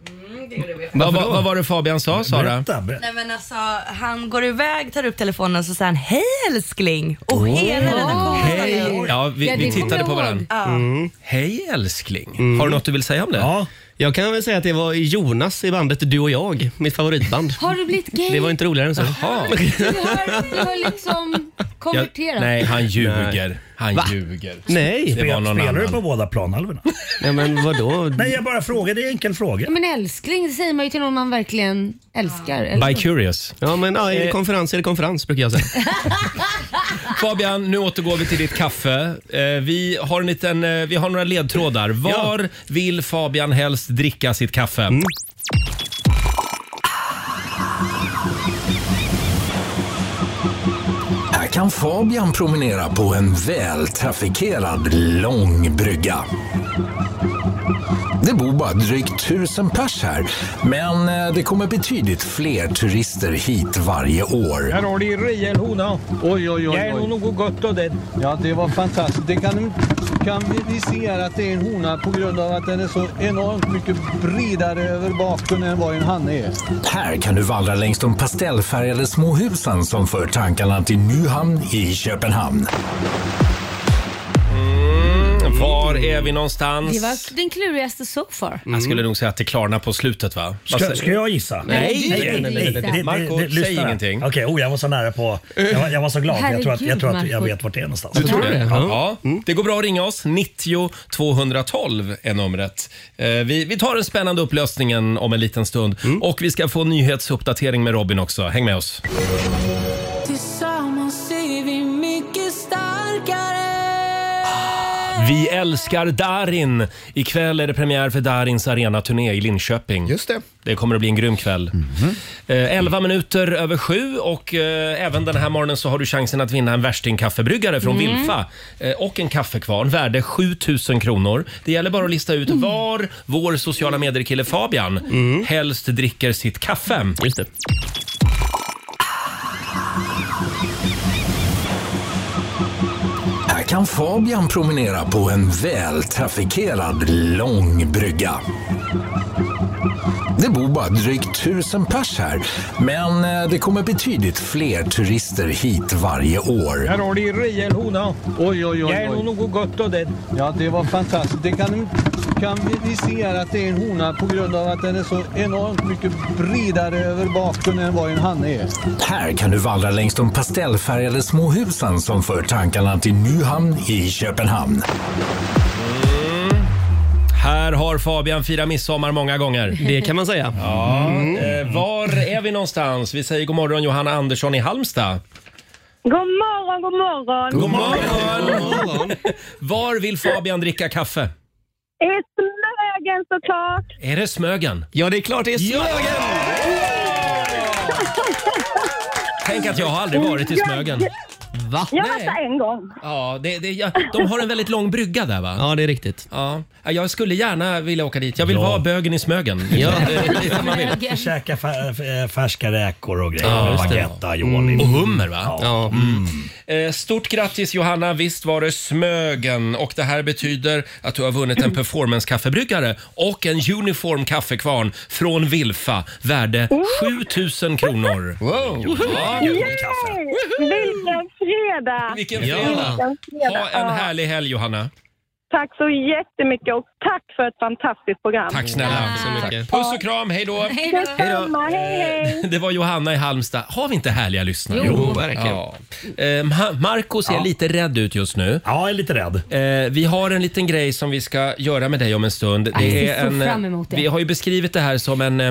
A: Vad va, vad var det Fabian sa, Sara?
I: Berätta, berätta.
J: Nej men alltså, han går iväg, tar upp telefonen och så säger han hej älskling. Och hela redaktionen
A: Hej! Ja, vi,
B: Ja, det
A: vi
B: kommer
A: tittade
B: jag
A: på
B: ihåg.
A: varandra. Hej älskling. Har du något du vill säga om det?
I: Mm. Ja.
J: Jag kan väl säga att det var Jonas i bandet Du och jag, mitt favoritband.
B: Har du blivit gay?
J: Det var inte roligare än så.
A: Jaha.
B: Du har, du har liksom
A: Jag,
B: konverterat.
A: nej, han ljuger. Han ljuger.
J: Nej,
A: Det var någon
I: Spelar du
A: annan.
I: på båda planhalvorna?
J: Nej men vadå?
I: Nej, jag bara frågar. Det är en enkel fråga.
B: Ja, Men älskling, det säger man ju till någon man verkligen älskar. Eller?
A: By Curious.
J: Ja men ja, är det konferens är det konferens brukar jag säga.
A: Fabian, nu återgår vi till ditt kaffe. Eh, vi, har en liten, eh, vi har några ledtrådar. Var vill Fabian helst dricka sitt kaffe?
D: Här kan Fabian promenera på en vältrafikerad lång brygga. Det bor bara drygt tusen pers här, men eh, det kommer betydligt fler turister hit varje år.
K: Här har du en rejäl hona. Oj, oj, oj. Det är nog något gott av den. Ja, det var fantastiskt. Det kan, kan vi- vi se här att det är en hona på grund av att den är så enormt mycket bredare över baken än vad en hanne är.
D: Här kan du vandra längs de pastellfärgade små husen som för tankarna till Nyhamn i Köpenhamn.
A: Var är vi någonstans?
B: Det var den klurigaste so far.
A: Mm. Jag skulle nog säga att det klarnar på slutet va? Vad
L: Ska,
A: säger-
L: ska jag gissa?
A: Nej,
L: Marco,
A: Marco, säg
L: lyssna.
A: ingenting.
L: Okej, oh, jag var så nära på. Jag var, jag var så glad. Jag tror, att, jag
A: Herregud,
L: tror att jag
A: Marco.
L: vet vart det är någonstans.
A: Du tror det?
L: Ja.
A: Ja. Det går bra att ringa oss. 90 212 är numret. Eh, Vi, vi tar den spännande upplösningen om en liten stund. Och vi ska få en nyhetsuppdatering med Robin också. Häng med oss.
H: Tillsammans är vi mycket starkare.
A: Vi älskar Darin. Ikväll är det premiär för Darins arenaturné i Linköping. Just det. Det kommer att bli en grym kväll. Eh, 11 minuter över sju och eh, även den här morgonen så har du chansen att vinna en värstingkaffebryggare från
M: Mm.
A: Wilfa eh, och en kaffekvarn värde 7000 kronor. Det gäller bara att lista ut var vår sociala medier-kille Fabian helst dricker sitt kaffe. Mm. Just det.
D: Här kan Fabian promenera på en vältrafikerad lång brygga. Det bor bara drygt tusen pers här, men eh, det kommer betydligt fler turister hit varje år.
K: Här har du en rejäl hona.
L: Oj, oj, oj.
K: Det är nog något gott av den.
L: Ja, det var fantastiskt. Det kan, kan vi- vi se här att det är en hona på grund av att den är så enormt mycket bredare över baken än vad en hanne är.
D: Här kan du vandra längs de pastellfärgade små husen som för tankarna till Nyhamn i Köpenhamn.
A: Här har Fabian firat midsommar många gånger.
M: Det kan man säga. Mm.
A: Ja. Eh, var är vi någonstans? Vi säger god morgon Johanna Andersson i Halmstad.
N: God morgon, god morgon.
A: God morgon! Var vill Fabian dricka kaffe?
N: I Smögen såklart.
A: Är det Smögen?
M: Ja, det är klart det är Smögen!
A: Tänk att jag har aldrig varit i Smögen. Va?
N: Jag var där en gång.
A: Ah, Ja, det, det, ja, de har en väldigt lång brygga där va? Ja, det är riktigt. Ja. Jag skulle gärna vilja åka dit. Jag vill vara bögen i Smögen. eh,
L: Ja.
A: Det är lite man vill.
L: Käka fär, eh, färska räkor och grejer.
A: Ja,
L: Ja,
A: just det. Mm.
L: Baguette, aioli.
A: Och hummer va?
L: Ja.
A: Eh, Stort grattis Johanna, visst var det Smögen och det här betyder att du har vunnit en performance-kaffebryggare och en uniform kaffekvarn från Wilfa värde 7000 kronor. Wow.
N: Yay! Vilken fredag!
A: Vilken
N: Ja.
A: fredag!
N: fredag.
A: Ha en
N: Ja.
A: härlig helg Johanna.
N: Tack så jättemycket och tack för ett fantastiskt program.
A: Tack snälla. Puss och kram, hej då! Eh,
N: Hej då. Detsamma, hej hej.
A: Det var Johanna i Halmstad. Har vi inte härliga lyssnare?
M: Jo, Jo, verkligen.
A: Ja. Eh, Ma- Marco ser
M: Ja.
A: lite rädd ut just nu.
L: Ja, jag är lite rädd.
A: Eh, vi har en liten grej som vi ska göra med dig om en stund.
B: Aj, vi ser
A: en, eh,
B: fram emot det.
A: Vi har ju beskrivit det här som en, eh,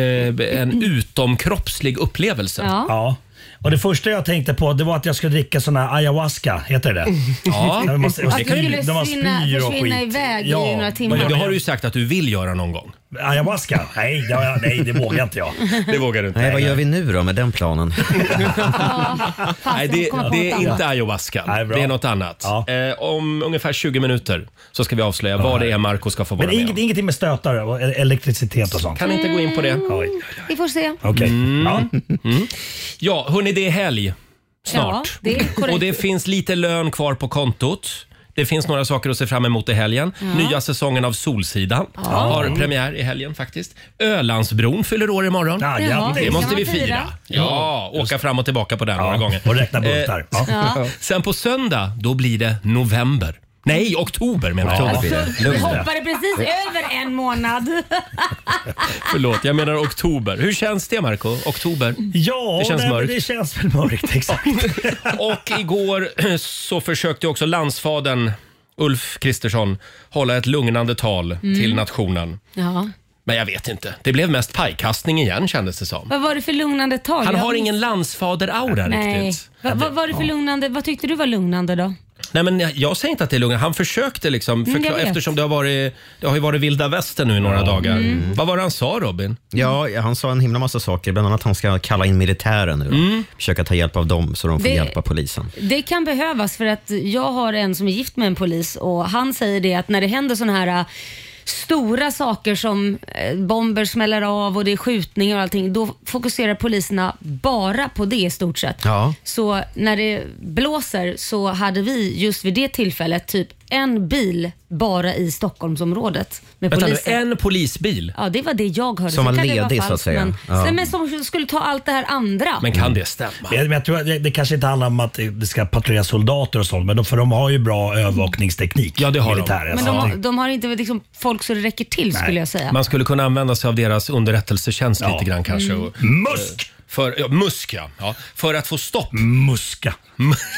A: eh, en utomkroppslig upplevelse.
L: Ja. Och det första jag tänkte på det var att jag skulle dricka sån här ayahuasca, heter det
A: Ja.
L: Där man-
A: Att du
B: skulle
L: där man
B: försvinna-
L: spyr och
B: försvinna
L: skit.
B: iväg i några timmar.
A: Men det har du ju sagt att du vill göra någon gång.
L: Ayahuasca? Nej, ja, nej, det vågar inte jag.
A: Det vågar du inte.
C: Nej, vad gör vi nu då med den planen?
A: Nej,
C: jag
A: det,
C: måste komma på
A: det
C: något
A: är inte
C: annat.
A: ayahuasca. det är något annat. Eh, om ungefär 20 minuter så ska vi avslöja vad det är Marco ska få vara
L: Men
A: med
L: inget, ingenting med stötar och elektricitet och sånt?
A: Kan inte gå in på det.
L: Oj.
B: Vi får se.
L: Okej.
A: Ja. Mm. ja, hörni, det är helg snart.
B: Ja, det är korrekt.
A: och det finns lite lön kvar på kontot. Det finns några saker att se fram emot i helgen.
M: Ja.
A: Nya säsongen av Solsidan
M: Ja.
A: har premiär i helgen faktiskt. Ölandsbron fyller år imorgon.
M: Ja, grattis.
A: det
M: Kan
A: måste
M: man
A: vi
M: fira?
A: fira. Ja, åka fram och tillbaka på den några gånger.
L: och räkna bultar.
A: Eh,
L: Ja.
B: Ja.
A: Sen på söndag, då blir det november. Nej, oktober menar jag.
B: Ja, Vi Alltså, hoppade precis över en månad.
A: Förlåt, jag menar oktober. Hur känns det Marco? Oktober?
L: Ja,
A: det känns
L: nej, men
A: mörkt.
L: Det känns väl mörkt, exakt.
A: Och igår så försökte också landsfadern Ulf Kristersson hålla ett lugnande tal
B: Mm.
A: till nationen.
B: Ja.
A: Men jag vet inte. Det blev mest pajkastning igen kändes det som.
B: Vad var det för lugnande tag?
A: Han
B: Jag
A: har
B: minns-
A: ingen landsfader-aura
B: Nej.
A: riktigt.
B: Va, vad var det för
A: Ja.
B: lugnande? Vad tyckte du var lugnande då?
A: Nej, men jag, jag säger inte att det är lugnt. Han försökte liksom,
B: Mm, jag
A: förkla-
B: vet.
A: eftersom det har, varit, det har ju varit vilda västern nu i några dagar.
B: Mm.
A: Vad var det han sa Robin?
C: Ja, han sa en himla massa saker. Bland annat att han ska kalla in militären nu. Mm. Försöka ta hjälp av dem så de får
B: Det-
C: hjälpa polisen.
B: Det kan behövas för att jag har en som är gift med en polis och han säger det att när det händer sådana här äh, stora saker som äh, bomber smäller av och det är skjutningar och allting, då fokuserar poliserna bara på det i stort sett.
C: Ja.
B: Så när det blåser så hade vi just vid det tillfället typ en bil bara i Stockholmsområdet med
A: Vänta nu,
B: poliser.
A: en polisbil?
B: Ja, det var det jag hörde.
A: Som
B: Sen
A: var
B: kan det vara
A: ledig, så att
B: falskt,
A: säga.
B: Men,
A: Ja.
B: Nej, men som skulle ta allt det här andra.
A: Men kan det stämma?
I: Men jag tror att det, det kanske inte handlar om att det ska patrullera soldater och sånt, men de, för de har ju bra övervakningsteknik. Ja, det har militären,
B: Men
I: så att det-
B: de, de har inte liksom folk så det räcker till skulle jag säga.
A: Man skulle kunna använda sig av deras underrättelsetjänst lite grann kanske.
B: Mm.
A: Och, musk! För, ja, musk ja. ja. För att få stopp. Muska.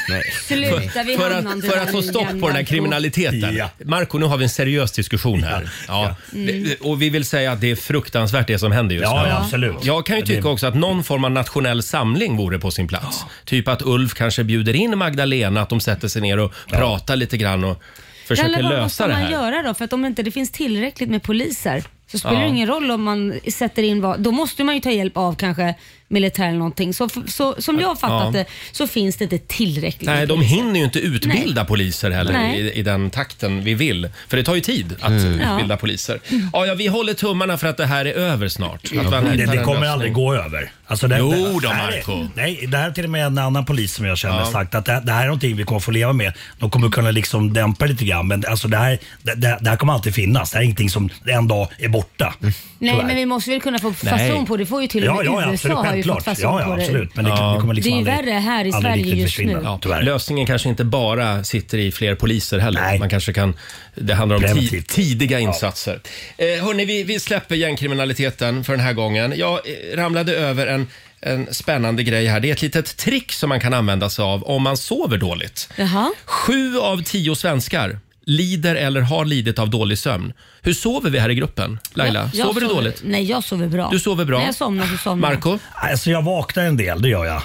A: Nej.
B: Sluta, vi
A: för, för,
B: hamnar
A: att,
B: inte
A: för
B: där
A: att få
B: nu
A: stopp
B: igen,
A: på den här
B: Marco.
A: kriminaliteten. Marco, nu har vi en seriös diskussion här. Ja.
B: Mm.
A: Det- Och vi vill säga att det är fruktansvärt det som händer just
I: Ja,
A: nu.
I: ja, absolut.
A: Jag kan ju
I: Det-
A: tycka också att någon form av nationell samling vore på sin plats. Typ att Ulf kanske bjuder in Magdalena, att de sätter sig ner och pratar lite grann och försöker
B: Eller vad
A: lösa
B: ska
A: det
B: man
A: här.
B: göra då? För att om inte det finns tillräckligt med poliser så spelar
A: Ja.
B: det ingen roll om man sätter in vad. Då måste man ju ta hjälp av kanske militär eller någonting. Så, så, som jag har fattat
A: Ja.
B: det så finns det inte tillräckligt
A: Nej,
B: med
A: de
B: poliser.
A: hinner ju inte utbilda poliser heller
B: Nej. Mm.
A: i, i den takten vi vill. För det tar ju tid att utbilda
B: Ja.
A: poliser. Ja, ja, vi håller tummarna för att det här är över snart. Att man hittar
I: Det, det
A: en
I: kommer
A: lösning.
I: aldrig gå över. Alltså det,
A: Jo
I: det,
A: då,
I: nej,
A: Marco.
I: Nej, det här är till och med en annan polis som jag känner
A: Ja.
I: sagt att det, det här är någonting vi kommer få leva med. De kommer kunna liksom dämpa lite grann men alltså det, här, det, det, det här kommer alltid finnas. Det här är ingenting som en dag är borta.
A: Mm.
B: Nej,
I: Tyvärr.
B: men vi måste väl kunna få
I: Nej.
B: fason på det. Det får ju till och med USA har ju fått fason
I: ja, ja,
B: på det.
I: absolut. Men det, det kommer liksom
B: det är ju
I: aldrig...
B: värre här i
A: aldrig
B: Sverige
A: riktigt
B: just nu.
A: försvinna, tyvärr. Lösningen kanske inte bara sitter i fler poliser heller. Man kanske kan, det handlar om ti-
I: Preventivt.
A: tidiga insatser. Eh, hörni, vi, vi släpper gängkriminaliteten för den här gången. Jag eh, ramlade över en, en spännande grej här. Det är ett litet trick som man kan använda sig av om man sover dåligt.
B: Jaha.
A: Sju av tio svenskar lider eller har lidit av dålig sömn. Hur sover vi här i gruppen? Laila,
B: Jag
A: sover du dåligt?
B: Nej, jag sover bra.
A: Du sover bra.
B: När jag somnar så somnar jag.
A: Marco? Mm.
I: Alltså jag vaknar en del, det gör jag.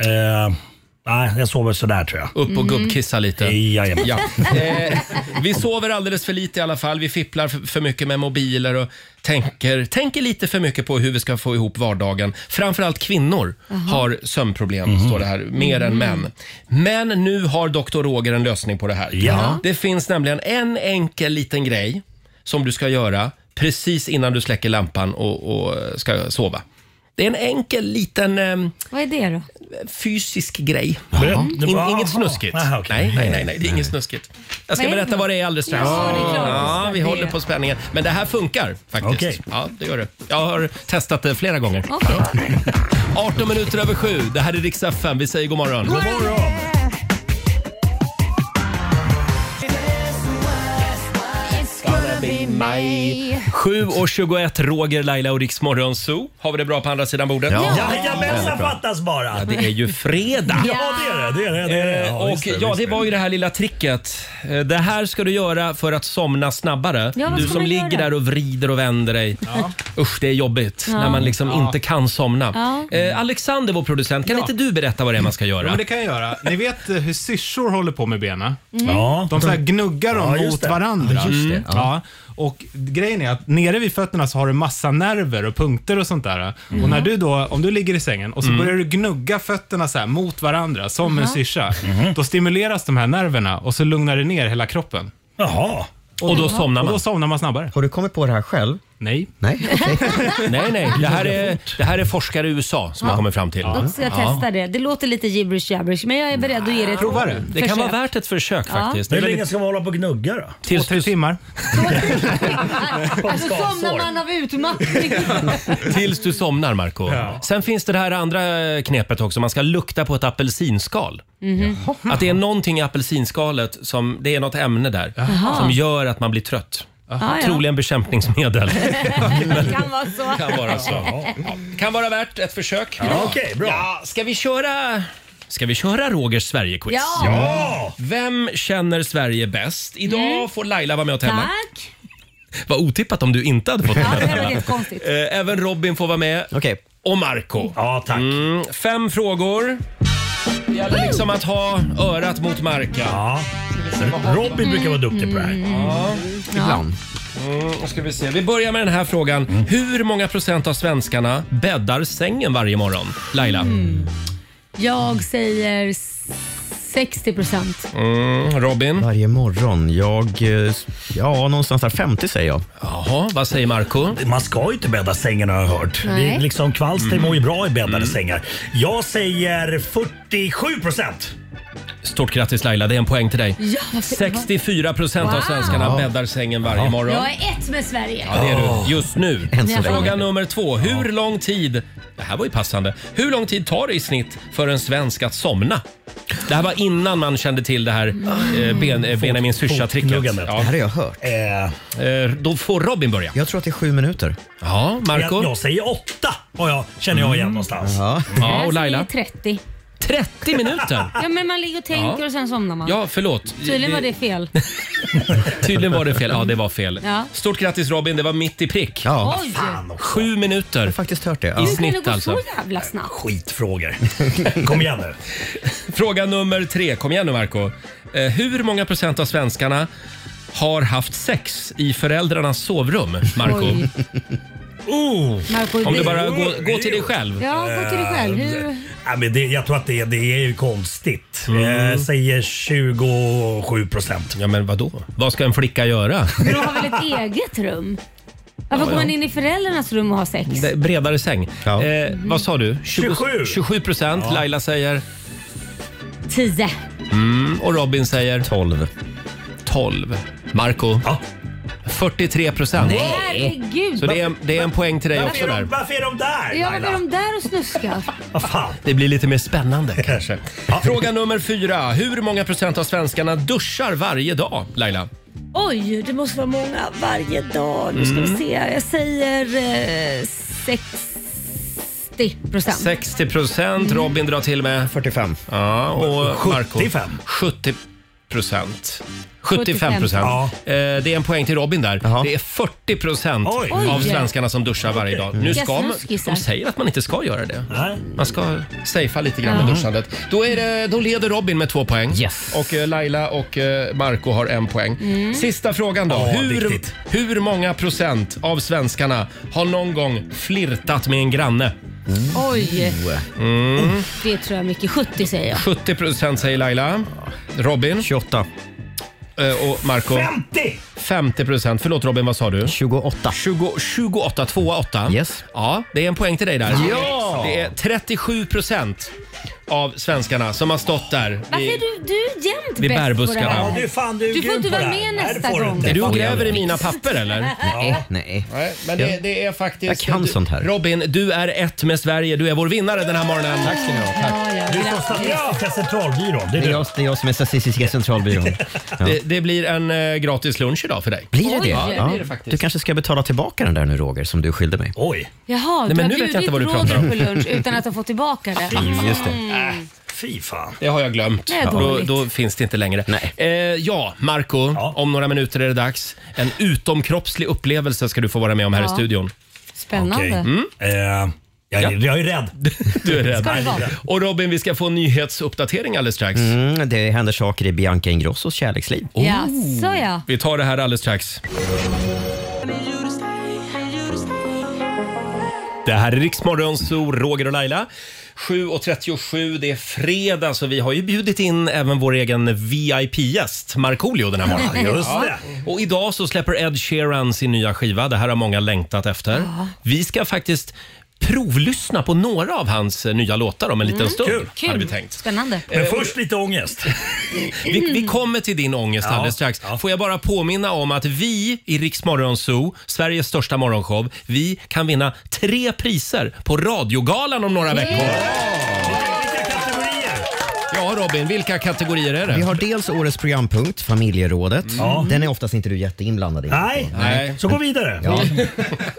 I: Eh, nej, jag sover sådär tror jag. Mm.
A: Upp och gubbkissa lite.
I: Jajamän.
A: Ja. Eh, vi sover alldeles för lite i alla fall. Vi fipplar f- för mycket med mobiler och tänker, tänker lite för mycket på hur vi ska få ihop vardagen. Framförallt kvinnor
O: Jaha.
A: har sömnproblem, står det här, mer än män. Men nu har doktor Roger en lösning på det här.
I: Ja.
A: Det finns nämligen en enkel liten grej som du ska göra precis innan du släcker lampan och, och ska sova. Det är en enkel liten ehm,
B: Vad är det då?
A: fysisk grej.
I: Jaha.
A: In, inget snuskigt.
I: Aha, okej.
A: nej, nej, nej, nej, det är inget snuskigt. Jag ska
I: Nej.
A: berätta vad det är alldeles strax.
I: Ja, det är klart.
A: Ja, vi
I: Det-
A: håller på spänningen. Men det här funkar faktiskt. Ja, det gör det. Jag har testat det flera gånger.
B: Okej.
A: 18 minuter över sju. Det här är riks FM. Vi säger god morgon.
I: God morgon!
A: Maj. 7 och 21, Roger, Laila och Riks Zoo. Har vi det bra på andra sidan bordet?
I: Jajamensan fattas bara!
A: Ja, det är ju fredag.
I: Ja, det är det. det, är det, det, är det.
A: Eh,
I: Ja,
A: och
I: visst är
A: ja,
I: visst
A: det
I: är
A: var ju det här lilla tricket. Eh, Det här ska du göra för att somna snabbare.
I: Ja, vad
A: du
I: ska
A: som
I: man
A: ligger
I: göra?
A: där och vrider och vänder dig. Usch, det är jobbigt
F: Ja.
A: när man liksom
F: Ja.
A: inte kan somna.
F: Ja.
A: Eh, Alexander, vår producent, kan
F: Ja.
A: inte du berätta vad det är man ska
F: Ja,
A: göra?
F: men det kan jag göra. Ni vet eh, hur syrsor håller på med benen?
A: Mm. Ja.
F: De så här gnuggar dem
A: Ja, just
F: mot
A: det.
F: varandra.
A: Ja, just det.
F: Mm.
A: Ja.
F: Ja. Och grejen är att nere vid fötterna så har du massa nerver och punkter och sånt där. Och
I: Mm.
F: när du då, om du ligger i sängen och så
A: Mm.
F: börjar du gnugga fötterna så här mot varandra som en
A: Jaha.
F: syrsa.
A: Mm.
F: Då stimuleras de här nerverna och så lugnar det ner hela kroppen.
I: Jaha.
A: Och då somnar man.
F: Och då somnar man snabbare.
C: Har du kommit på det här själv?
F: Nej.
C: Nej,
A: nej, nej. Det här, är, det här är forskare i USA som har kommit fram till.
B: Då ska jag testa det. Det låter lite gibberish jabberish men jag är beredd att ge det ett
A: Prova det. Det kan
B: försök.
A: vara värt ett försök
B: Ja.
A: faktiskt.
I: Hur länge ska man hålla på och gnugga då?
A: Tills du,
F: timmar.
B: Alltså somnar man av utmattning.
A: Tills du somnar, Marco Sen finns det här andra knepet också. Man ska lukta på ett apelsinskal.
B: Mhm.
A: Mm-hmm. Att det är någonting i apelsinskalet som, det är något ämne där
B: Jaha.
A: som gör att man blir trött.
B: Jaha.
A: Troligen bekämpningsmedel.
B: Det kan vara så.
A: Kan vara så. Ja. Kan vara värt ett försök.
B: Ja, okej,
A: bra. Ja, ska vi köra... Ska vi köra Rogers Sverige-quiz?
B: Ja! Ja!
A: Vem känner Sverige bäst? Idag får Laila vara med och tävla.
B: Mm. Tack.
A: Vad otippat om du inte hade fått
B: Ja,
A: med
B: det hade
A: den.
B: varit jättekonstigt.
A: Eh, Även Robin får vara med.
C: Okej.
A: Och Marco
I: Ja, tack.
A: Mm, fem frågor. Det gäller liksom att ha örat mot marken. Ja.
I: Robin brukar vara duktig på det
B: Mm.
I: här.
A: Ja,
I: Ibland. Mm.
A: Mm, då ska vi, se. vi börjar med den här frågan. Hur många procent av svenskarna bäddar sängen varje morgon? Laila?
I: Mm.
B: Jag säger s- 60 procent.
A: Mm, Robin?
C: Varje morgon. Jag... eh, Ja, någonstans där 50 säger jag.
A: Jaha, vad säger Marco?
I: Man ska ju inte bädda sängen har jag hört.
C: Nej.
I: Det är liksom, kvalster
C: Mm.
I: mår ju bra i bäddade sängar. Jag säger 47 procent.
A: Stort grattis Laila, det är en poäng till dig.
B: Ja, vad-
A: 64 procent av
B: Wow.
A: svenskarna
B: Ja.
A: bäddar sängen varje morgon.
B: Jag är ett med Sverige.
A: Ja, det är du. Just nu.
B: Än så länge.
A: Fråga nummer två. Hur lång tid... Det här var ju passande. Hur lång tid tar det i snitt för en svensk att somna? Det här var innan man kände till det här
B: Mm.
A: eh, ben, eh, Benjamin Syrsa-tricket. Ja.
I: fotknuggandet.
C: Det här har jag hört.
A: Eh, Då får Robin börja.
C: Jag tror att det är sju minuter.
A: Ja, Marco? Mm.
I: Jag, jag säger 8 och jag, känner jag igen någonstans.
C: Ja.
A: Ja, och
B: Det är
A: Laila?
B: 30.
A: 30 minuter?
B: Ja, men man ligger och tänker
A: Ja.
B: och sen somnar man.
A: Ja, förlåt.
B: Tydligen var det fel.
A: Tydligen var det fel. Ja, det var fel.
B: Ja.
A: Stort grattis Robin, det var mitt i prick.
C: Ja.
B: Oj!
A: Sju minuter. Jag har
C: faktiskt hört det.
A: I
B: Hur kan det
A: snitt
B: gå
A: alltså.
B: så jävla snabbt?
I: Skitfrågor. Kom igen nu.
A: Fråga nummer tre. Kom igen nu Marco. Eh, hur många procent av svenskarna har haft sex i föräldrarnas sovrum, Marco?
B: Oj.
I: Oh.
B: Marco,
A: Om du
B: det-
A: bara går, går till dig själv.
B: Ja, gå till dig själv. Hur...
I: Ja, Eh, men det, jag tror att det, det är ju konstigt. Jag säger 27 procent.
A: Mm. Ja, men vadå? Vad ska en flicka göra?
B: Men de har väl ett eget rum? Varför
A: Ja,
B: går man
A: ja.
B: in i föräldrarnas rum och har sex?
A: Det- Bredare säng. Eh, vad sa du? 20,
I: 27.
A: 27 procent. Laila säger?
B: 10.
A: Mm, och Robin säger? 12. 12. Marco? 43 procent.
B: Herregud.
A: Så det är, det är en poäng till dig
I: Varför
A: också
I: är, de,
A: där.
I: varför är de där
B: Ja, varför är
I: Laila?
B: de där och snuskar?
I: Vad fan?
A: Det blir lite mer spännande kanske. Fråga nummer fyra. Hur många procent av svenskarna duschar varje dag, Laila?
B: Oj, det måste vara många varje dag. Nu ska
A: Mm.
B: vi se. Jag säger eh, 60 procent. Mm.
A: 60 procent. Robin drar till med?
C: 45.
A: Ja, och Marco?
I: 75.
A: 70 procent. 75 procent.
I: Ja.
A: Eh, Det är en poäng till Robin där. Det är 40 procent
I: Oj.
A: av
B: Oj.
A: svenskarna som duschar varje dag. Nu
B: Vilka
A: ska man,
B: snuskisar.
A: de säger att man inte ska göra det.
I: Nej.
A: Man ska safea lite grann med
B: Ja.
A: duschandet. Då, är det, då leder Robin med två poäng.
C: Yes.
A: Och eh, Laila och eh, Marco har en poäng.
B: Mm.
A: Sista frågan då.
I: Ja,
A: hur,
I: viktigt.
A: hur många procent av svenskarna har någon gång flirtat med en granne?
B: Oj, Oh,
A: Mm.
B: det tror jag mycket. 70 säger jag.
A: 70 procent säger Laila. Robin? Eh,
C: 28.
A: Och Marco?
I: 50!
A: 50 procent. Förlåt Robin, vad sa du?
C: 28.
A: 20, 28, 2 8.
C: Yes.
A: Ja, det är en poäng till dig där.
C: Ja!
A: Det är 37 procent av svenskarna som har stått där.
B: Varför är
A: vid-
B: du, du är jämt
A: Vi
B: bäst på det
A: bärbuskarna.
B: här?
I: Ja, du, fan, du är
B: Du får
I: grym
B: inte
I: på
B: vara
I: det här.
B: med
I: Nej, det
B: nästa
I: får du
B: gång.
I: inte.
A: Är du och
C: Fan,
A: gräver
C: jag
A: i
C: vet.
A: mina papper eller?
C: Nej. Nej.
A: Nej, men det, det är faktiskt...
C: Jag kan
A: du,
C: sånt här.
A: Robin, du är ett med Sverige. Du är vår vinnare den här morgonen. Tack ska ni ha.
B: Ja, ja,
I: Du är från
B: grattis.
I: Statistiska centralbyrån. Det
C: Det
I: är
C: är,
I: du.
C: jag, det är jag som är Statistiska centralbyrån. Ja.
A: Det, det blir en eh, gratis lunch idag för dig.
C: Blir det det?
A: Ja, det blir det
C: Du
A: faktiskt.
C: kanske ska betala tillbaka den där nu Roger, som du skyllde mig.
I: Oj,
B: Jaha,
A: Nej,
B: du
A: men
B: har
A: nu vet jag inte vad du
B: bjudit
A: pratar om. Mm,
B: Roger på lunch utan att ha fått tillbaka det. Mm.
C: Just det.
I: Äh, fy fan.
A: Det har jag glömt.
B: Det är
A: då,
B: dåligt.
A: då finns det inte längre.
C: Nej.
A: Eh, ja, Marco,
I: Ja.
A: om några minuter är det dags. En utomkroppslig upplevelse ska du få vara med om här i
B: Ja.
A: studion.
B: Spännande.
I: Okej.
A: Mm,
I: Eh, jag, är- jag är rädd.
A: Du är
B: Ska
A: rädd.
B: det vara?
A: Och Robin, vi ska få en nyhetsuppdatering alldeles strax.
C: Mm, det händer saker i Bianca Ingrossos kärleksliv.
B: Jaså ja.
A: Oh, Vi tar det här alldeles strax. Det här är Riksmorgon, så Roger och Laila. 7.37, det är fredag, så vi har ju bjudit in även vår egen VIP-gäst, Markoolio den här morgonen.
I: Just
A: Ja.
I: det.
A: Och idag så släpper Ed Sheeran sin nya skiva. Det här har många längtat efter. Vi ska faktiskt provlyssna på några av hans eh, nya låtar om en
I: Mm.
A: liten stund.
B: Mm. Kul.
A: Hade vi tänkt.
B: Spännande.
I: Men först lite ångest.
A: Vi, vi kommer till din ångest
I: Ja,
A: alldeles strax.
I: Mm. ja.
A: Får jag bara påminna om att vi i Rix Morgon Zoo, Sveriges största morgonshow, vi kan vinna tre priser på Radiogalan om några veckor.
I: Vilka kategorier?
A: Ja, Ja, Robin, vilka kategorier är det?
C: Vi har dels årets programpunkt, familjerådet.
A: Ja.
C: Den är oftast inte du jätteinblandad i.
A: Nej. Nej. Så gå vidare.
C: Ja.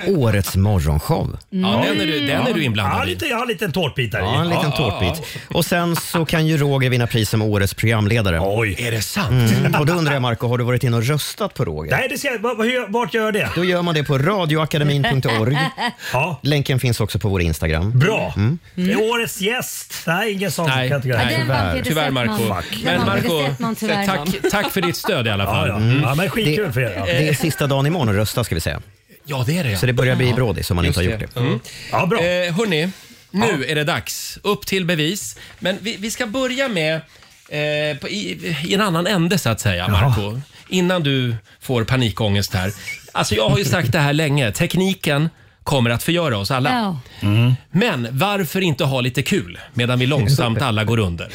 C: årets morgonshow.
A: Ja, den är du, den är du
E: Mm. ja,
A: inblandad i.
E: lite, Jag har en liten tårtbitare
C: Ja, en liten tårtbit. Och sen så kan ju Roger vinna pris som årets programledare.
E: Oj.
A: Är det sant?
C: Mm. Och då undrar jag Marco, har du varit inne och röstat på Roger?
E: Nej, det ser jag. Vart- hur- Vart gör jag det?
C: Då gör man det på radioakademin.org.
E: Ja.
C: Länken finns också på vår Instagram.
E: Bra.
C: Mm.
E: Det är årets gäst. Nej, ingen sån
C: Nej.
E: kategori.
C: Nej, Den vann Peter
A: Tyvärr
C: Settman.
A: Marco.
C: Fuck. Den
A: Men
C: vann
A: Marco,
C: Peter Settman, tyvärr.
A: tack, tack för ditt stöd i alla fall.
C: Mm.
A: Det-
C: det, Det är sista dagen imorgon att rösta ska vi säga.
A: Ja, det är det.
C: Så det börjar bli brådis om man inte har
A: Just
C: gjort det.
A: Mm. Ja, bra. Eh, hörni, nu är det dags. Upp till bevis. Men vi, vi ska börja med eh, på, i, i en annan ände så att säga, Marco. Innan du får panikångest här. Alltså jag har ju sagt det här länge. Tekniken kommer att förgöra oss alla.
B: Ja.
A: Mm. Men varför inte ha lite kul medan vi långsamt alla går under?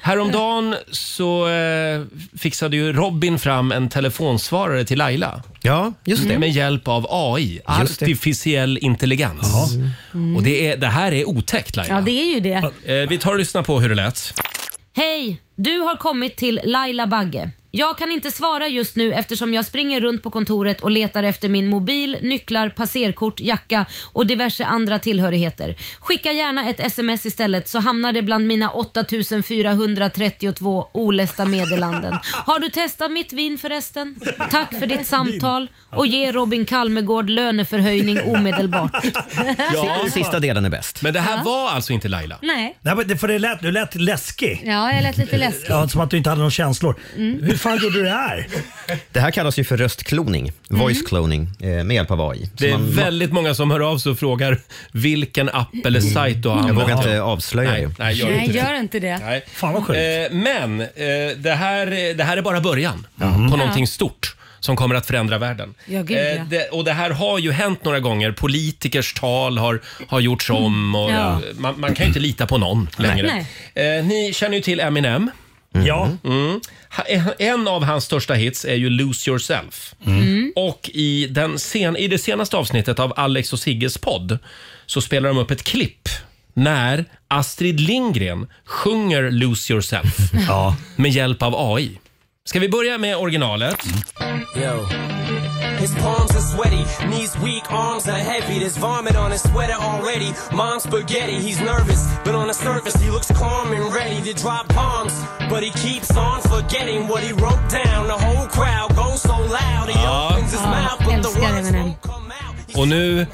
A: Häromdagen så eh, fixade ju Robin fram en telefonsvarare till Laila.
C: Ja,
A: just det. Med hjälp av AI,
B: Just det.
A: artificiell intelligens. Mm. Och det, är, det här är otäckt
B: Ja,
A: Laila.
B: det är ju det.
A: Eh, vi tar och lyssnar på hur det lät.
B: Hej! Du har kommit till Laila Bagge. Jag kan inte svara just nu eftersom jag springer runt på kontoret och letar efter min mobil, nycklar, passerkort, jacka och diverse andra tillhörigheter. Skicka gärna ett sms istället så hamnar det bland mina 8432 olästa meddelanden. Har du testat mitt vin förresten? Tack för ditt samtal och ge Robin Kalmegård löneförhöjning omedelbart.
C: Si- Sista delen är bäst.
A: Men det
B: här Ja.
A: var alltså inte Laila?
B: Nej.
E: Nej, men det, för det lät, du lät läskig.
B: Ja, jag lät lite läskig.
E: Ja, som att du inte hade några känslor.
C: Mm.
E: Hur fan gjorde du det här?
C: Det här kallas ju för röstkloning, voice cloning, eh, med hjälp av AI. Så
A: Det är
C: man-
A: väldigt många som hör av sig och frågar vilken app eller sajt du har
C: Jag
A: använt.
C: vågar inte avslöja
A: nej,
C: det.
A: Nej, gör
B: Nej,
A: inte det.
B: gör inte det.
A: Nej.
E: Fan vad
A: sjukt. Men eh, det här, det här är bara början på någonting stort som kommer att förändra världen.
B: Ja, gud,
I: Eh,
B: ja.
A: Eh, det, och det här har ju hänt några gånger. Politikers tal har, har gjorts om och
B: Mm. Ja.
A: eh, man, man kan ju inte lita på någon längre. Eh, ni känner ju till Eminem.
E: Ja.
A: Mm. Ha- en- En av hans största hits är ju “Lose yourself”. Och i, den sen, i det senaste avsnittet av Alex och Sigges podd så spelar de upp ett klipp när Astrid Lindgren sjunger “Lose yourself” med hjälp av AI. Ska vi börja med originalet?
O: His palms are sweaty, knees weak, arms are heavy. There's vomit on his sweater already. Mom's spaghetti, he's nervous, but on the surface he looks calm and ready to drop bombs. But he keeps on forgetting what he wrote down. The whole crowd goes so loud, he
A: Ja.
O: opens his mouth, but the
B: Älskar
O: words
B: Eminem.
A: Och nu...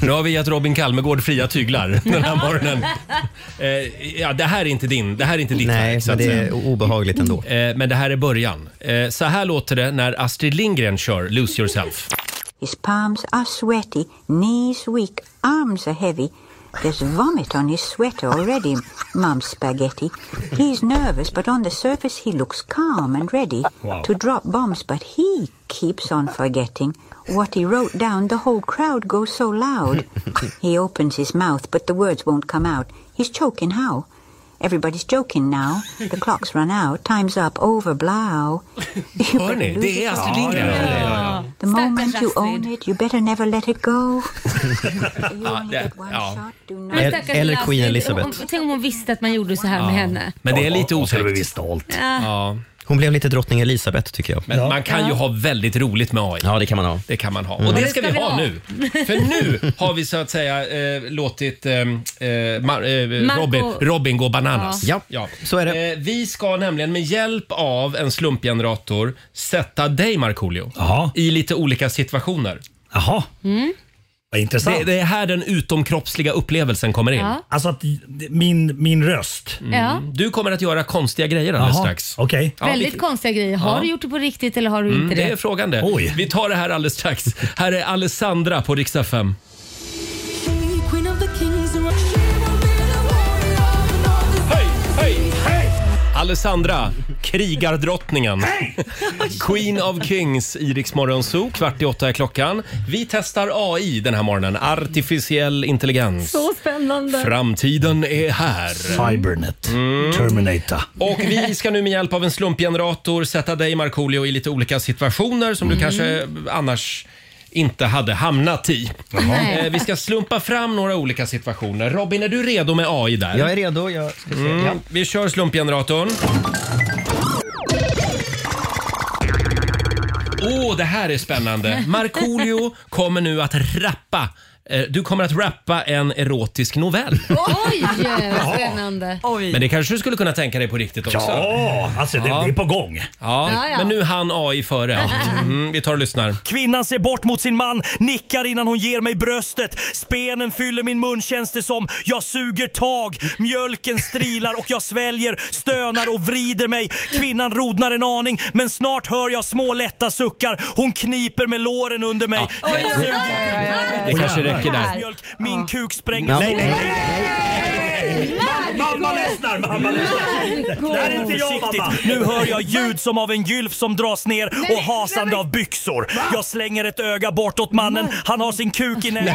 A: Nu har vi gett Robin Kalmegård fria tyglar den här morgonen. Eh, ja, det här är inte din, det här är inte ditt
C: Nej,
A: verk, så
C: men
A: att
C: det
A: säga.
C: är obehagligt ändå.
A: Eh, men det här är början. Eh, så här låter det när Astrid Lindgren kör “Lose yourself”.
P: His palms are sweaty, knees weak, arms are heavy. There's vomit on his sweater already, Mum's spaghetti. He's nervous, but on the surface he looks calm and ready
Q: Wow.
P: to drop bombs, but he keeps on forgetting what he wrote down. The whole crowd goes so loud. he opens his mouth, but the words won't come out. He's choking how? Everybody's joking now. The clock's run out. Time's up. Over. Blow.
A: Hör ni? Det är Astrid Lindgren.
P: The moment you own it, you better never let it go.
A: Ja, det, ja.
B: Men stackars Lasse, Om, tänk om hon visste att man gjorde så här med henne.
A: Men det är lite
E: otäckt. stolt.
B: Ja.
C: Hon blev lite drottning Elisabeth tycker jag.
A: Men man kan ju ha väldigt roligt med AI.
C: Ja, det kan man ha.
A: Det kan man ha.
C: Mm.
A: Och det ska vi ha nu. För nu har vi så att säga eh, låtit eh, eh, Mar- eh,
C: Marco-
A: Robin, Robin gå bananas.
C: Ja.
A: så är det. Eh, vi ska nämligen med hjälp av en slumpgenerator sätta dig, Markoolio, i lite olika situationer.
E: Jaha.
B: Mm.
E: Vad intressant.
A: Det, det är här den utomkroppsliga upplevelsen kommer in. Mm.
B: Ja.
E: Alltså att min, min röst.
B: Ja.
A: Du kommer att göra konstiga grejer alldeles
E: Jaha,
A: strax.
E: Okej.
B: Väldigt konstiga grejer. Har
A: Ja.
B: du gjort det på riktigt eller har du
A: Mm,
B: inte det?
A: det är frågan det. Vi tar det här alldeles strax. Här är Alessandra på riksdag 5.
H: Queen of the kings and rock-
A: Alessandra, krigardrottningen. Queen of Kings i Rix Morgon Zoo. Kvart i åtta är klockan. Vi testar AI den här morgonen. Artificiell intelligens.
B: Så spännande.
A: Framtiden är här. Mm.
E: Cybernet. Terminator.
A: Och vi ska nu med hjälp av en
C: Mm.
A: slumpgenerator sätta dig Markoolio i lite olika situationer som du kanske annars inte hade hamnat i.
C: Jaha.
A: Eh, Vi ska slumpa fram några olika situationer. Robin, är du redo med AI där?
C: Jag är redo. Jag ska se.
A: Mm,
C: Ja.
A: Vi kör slumpgeneratorn. Åh, det här är spännande. Markoolio kommer nu att rappa. Eh, Du kommer att rappa en erotisk novell.
B: Oj, vad spännande. Oj.
A: Men det kanske du skulle kunna tänka dig på riktigt också?
I: Ja, alltså det- det är på gång.
A: Ja,
I: Ja, ja.
A: men nu hann AI före. Mm, vi tar och lyssnar.
I: Kvinnan ser bort mot sin man, nickar innan hon ger mig bröstet. Spenen fyller min mun känns det som. Jag suger tag, mjölken strilar och jag sväljer, stönar och vrider mig. Kvinnan rodnar en aning men snart hör jag små lätta suckar. Hon kniper med låren under mig. Jag suger.
A: Det kanske räcker där.
I: Mjölk, Min kuk sprängs.
A: Nej, nej,
I: Mamma ledsnar, mamma ledsnar. Det här är inte jag mamma. Nu hör jag ljud som av en gylf som dras ner och hasande av byxor. Jag slänger ett öga bortåt mannen. Han har sin kuk i näven.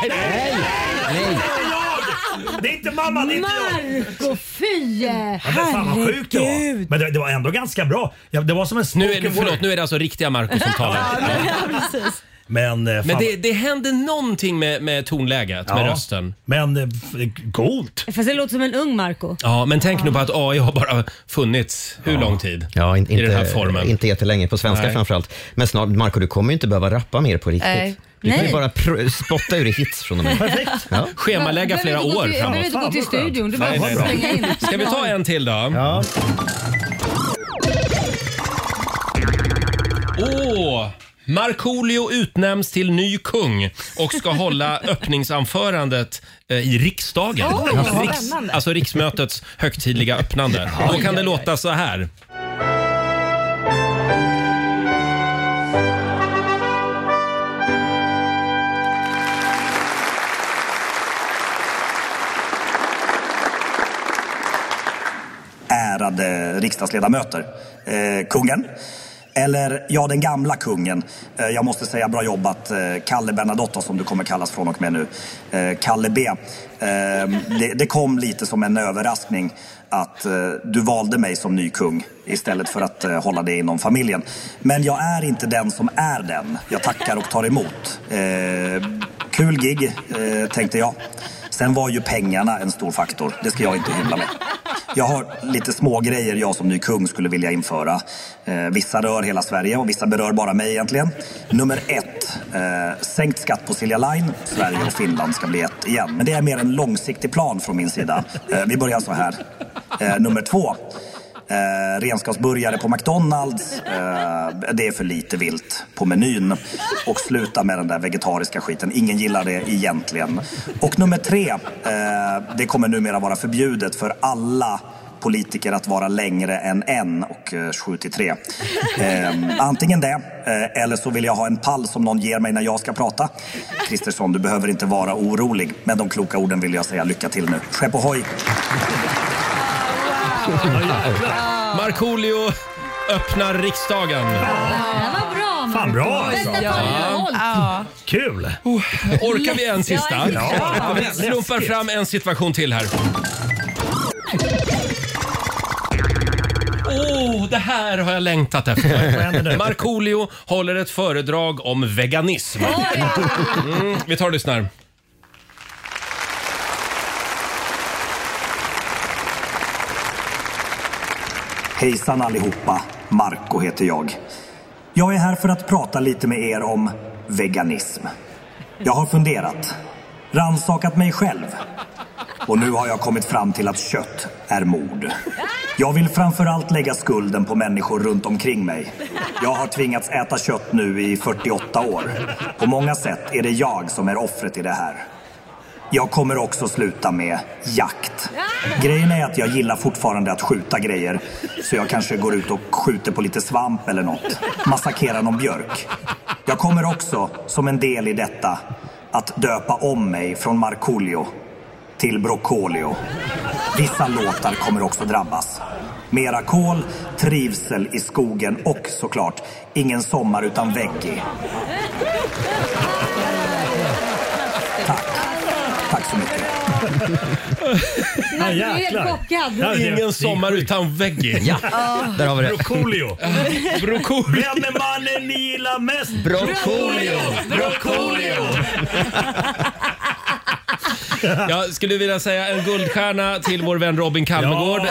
I: Det är inte mamma, det är inte
B: jag! Marco, fy!
I: Ja, men fan vad sjukt det var. Men det, det var ändå ganska bra. Ja, det var som en
A: Nu är, det,
I: spoken
A: förlåt,
I: word.
A: nu är det alltså riktiga Marco som talar.
I: Men, eh, fan,
A: Men det, det händer någonting med, med tonläget, med
I: Ja.
A: rösten.
I: Men eh, coolt.
B: Fast det låter som en ung Marco
A: Ja, men tänk nu på att AI har bara funnits hur lång tid?
C: Ja, in,
A: I den här
C: inte-
A: formen.
C: Inte jättelänge, på svenska
A: Nej.
C: framförallt. Men snart, Marco, du kommer ju inte behöva rappa mer på riktigt.
B: Nej.
C: Du kan
B: Nej.
C: ju bara pr- spotta ur i hits från och med.
B: Perfekt.
C: Ja.
A: Schemalägga
B: Behöver
A: flera
B: inte gå
A: år
B: till-
A: framåt.
B: Behöver inte gå till studion, du
A: Nej,
B: behöver bara
A: nej,
B: slänga in.
A: nej. Ska vi ta en till då? Ja. Åh! Markoolio utnämns till ny kung och ska hålla öppningsanförandet eh, i riksdagen.
J: Oj, vad
A: Riks,
J: spännande.
A: alltså riksmötets högtidliga öppnande. Då kan det låta så här.
Q: ärade riksdagsledamöter. Eh, kungen. Eller, ja, den gamla kungen. Eh, jag måste säga bra jobbat, eh, Kalle Bernadotte som du kommer kallas från och med nu. Eh, Kalle B. Eh, det, det kom lite som en överraskning att eh, du valde mig som ny kung istället för att eh, hålla dig inom familjen. Men jag är inte den som är den. Jag tackar och tar emot. Eh, kul gig, eh, tänkte jag. Sen var ju pengarna en stor faktor. Det ska jag inte hymla med. Jag har lite små grejer jag som ny kung skulle vilja införa. Eh, vissa rör hela Sverige och vissa berör bara mig egentligen. Nummer ett. Eh, sänkt skatt på Silja Line. Sverige och Finland ska bli ett igen. Men det är mer en långsiktig plan från min sida. Eh, vi börjar så här. Eh, nummer två. Eh, renskapsburgare på McDonalds. Eh, det är för lite vilt på menyn. Och sluta med den där vegetariska skiten. Ingen gillar det egentligen. Och nummer tre. Eh, det kommer numera vara förbjudet för alla politiker att vara längre än en och eh, 7 till 3. Eh, antingen det, eh, eller så vill jag ha en pall som någon ger mig när jag ska prata. Kristersson, du behöver inte vara orolig. Med de kloka orden vill jag säga lycka till nu. Skepp ohoj!
A: Markoolio öppnar riksdagen.
B: Vad bra Marco.
A: Fan, bra, alltså.
B: Bästa
A: Ja.
B: fan ja.
I: Kul!
A: Oh, Orkar vi en sista?
I: Ja, ja.
A: Vi slumpar fram en situation till här. Oh, det här har jag längtat efter. Markoolio håller ett föredrag om veganism. Mm, vi tar och lyssnar.
Q: Hejsan allihopa, Marco heter jag. Jag är här för att prata lite med er om veganism. Jag har funderat, ransakat mig själv och nu har jag kommit fram till att kött är mord. Jag vill framförallt lägga skulden på människor runt omkring mig. Jag har tvingats äta kött nu i 48 år. På många sätt är det jag som är offret i det här. Jag kommer också sluta med jakt. Grejen är att jag gillar fortfarande att skjuta grejer. Så jag kanske går ut och skjuter på lite svamp eller något. Massakrerar någon björk. Jag kommer också, som en del i detta, att döpa om mig från Markoolio till Broccolio. Vissa låtar kommer också drabbas. Mera kol, trivsel i skogen och såklart, ingen sommar utan veggie. Tack så mycket.
B: Han var helt chockad.
A: Ingen sommar utan veggie.
C: Ja, där har vi det.
A: Brocolio. Brocolio.
I: Vem är mannen ni gillar mest?
C: Brocolio.
I: Brocolio.
A: Jag skulle vilja säga en guldstjärna till vår vän Robin Kalmegård.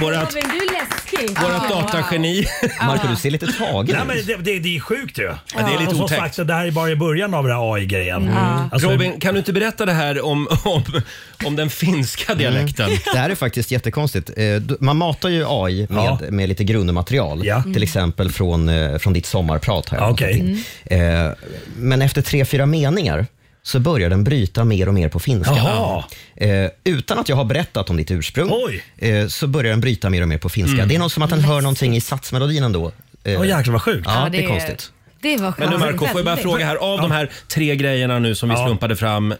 A: Vårat,
B: Robin, du är läskig.
A: vårat datageni.
C: Marco, du ser lite tagen
I: Nej,
C: ut.
I: men det, det, det är sjukt ju.
A: det är lite
I: Och som
A: otäckt.
I: sagt, det här är bara i början av den här AI-grejen.
J: Mm.
I: Alltså,
A: Robin, kan du inte berätta det här om, om, om den finska dialekten?
C: Mm. Det här är faktiskt jättekonstigt. Eh, du- Man matar ju AI med,
I: Ja.
C: med lite grundmaterial.
I: Ja. Ah,
C: Till exempel från, eh, från ditt sommarprat. Här,
I: Okej. Mm.
C: Eh, Men efter tre, fyra meningar så börjar den bryta mer och mer på finska.
I: Jaha.
C: Eh, utan att jag har berättat om ditt ursprung eh, så börjar den bryta mer och mer på finska.
I: Mm.
C: Det är något som att den hör någonting i satsmelodin ändå. Eh,
I: Åh, jäklar vad sjukt.
C: Ja, det är konstigt.
B: Det var
A: Men du Marco, får jag bara fråga här. Av de här tre grejerna nu som vi slumpade fram. Eh,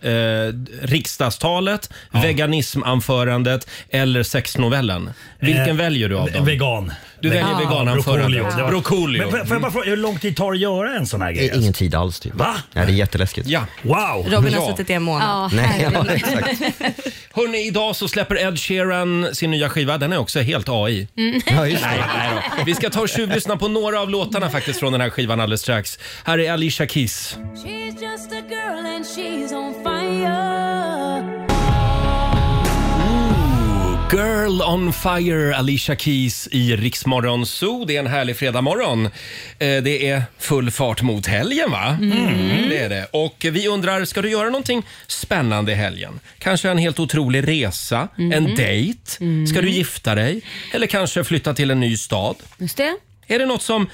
A: riksdagstalet, veganismanförandet eller sexnovellen. Vilken
I: Eh,
A: väljer du av dem?
I: Vegan.
A: Du väljer
I: Ja.
A: vegananförandet.
I: Brocolio. Det var-
A: Brocolio.
I: Men får- får jag bara fråga, hur lång tid tar det att göra en sån här grej?
C: Det är ingen tid alls. Typ.
I: Va?
C: Nej, det är jätteläskigt.
A: Ja.
I: Wow!
J: Robin har suttit i en
B: Ja,
J: månad.
C: Nej, ja,
B: herregud.
C: exakt.
A: Hörrni, idag så släpper Ed Sheeran sin nya skiva. Den är också helt AI.
B: Mm.
C: Ja, just det.
A: Nej, nej då. Vi ska ta och tjuvlyssna på några av låtarna faktiskt från den här skivan alldeles strax. Här är Alicia Keys.
H: She's just a girl and she's on fire.
A: Girl on fire, Alicia Keys i Riksmorgon Zoo. Det är en härlig fredagmorgon. Eh, Det är full fart mot helgen, va?
H: Mm.
A: Det är det. Och vi undrar, ska du göra någonting spännande i helgen? Kanske en helt otrolig resa, en dejt? Ska du gifta dig? Eller kanske flytta till en ny stad?
B: Just det.
A: Är det något som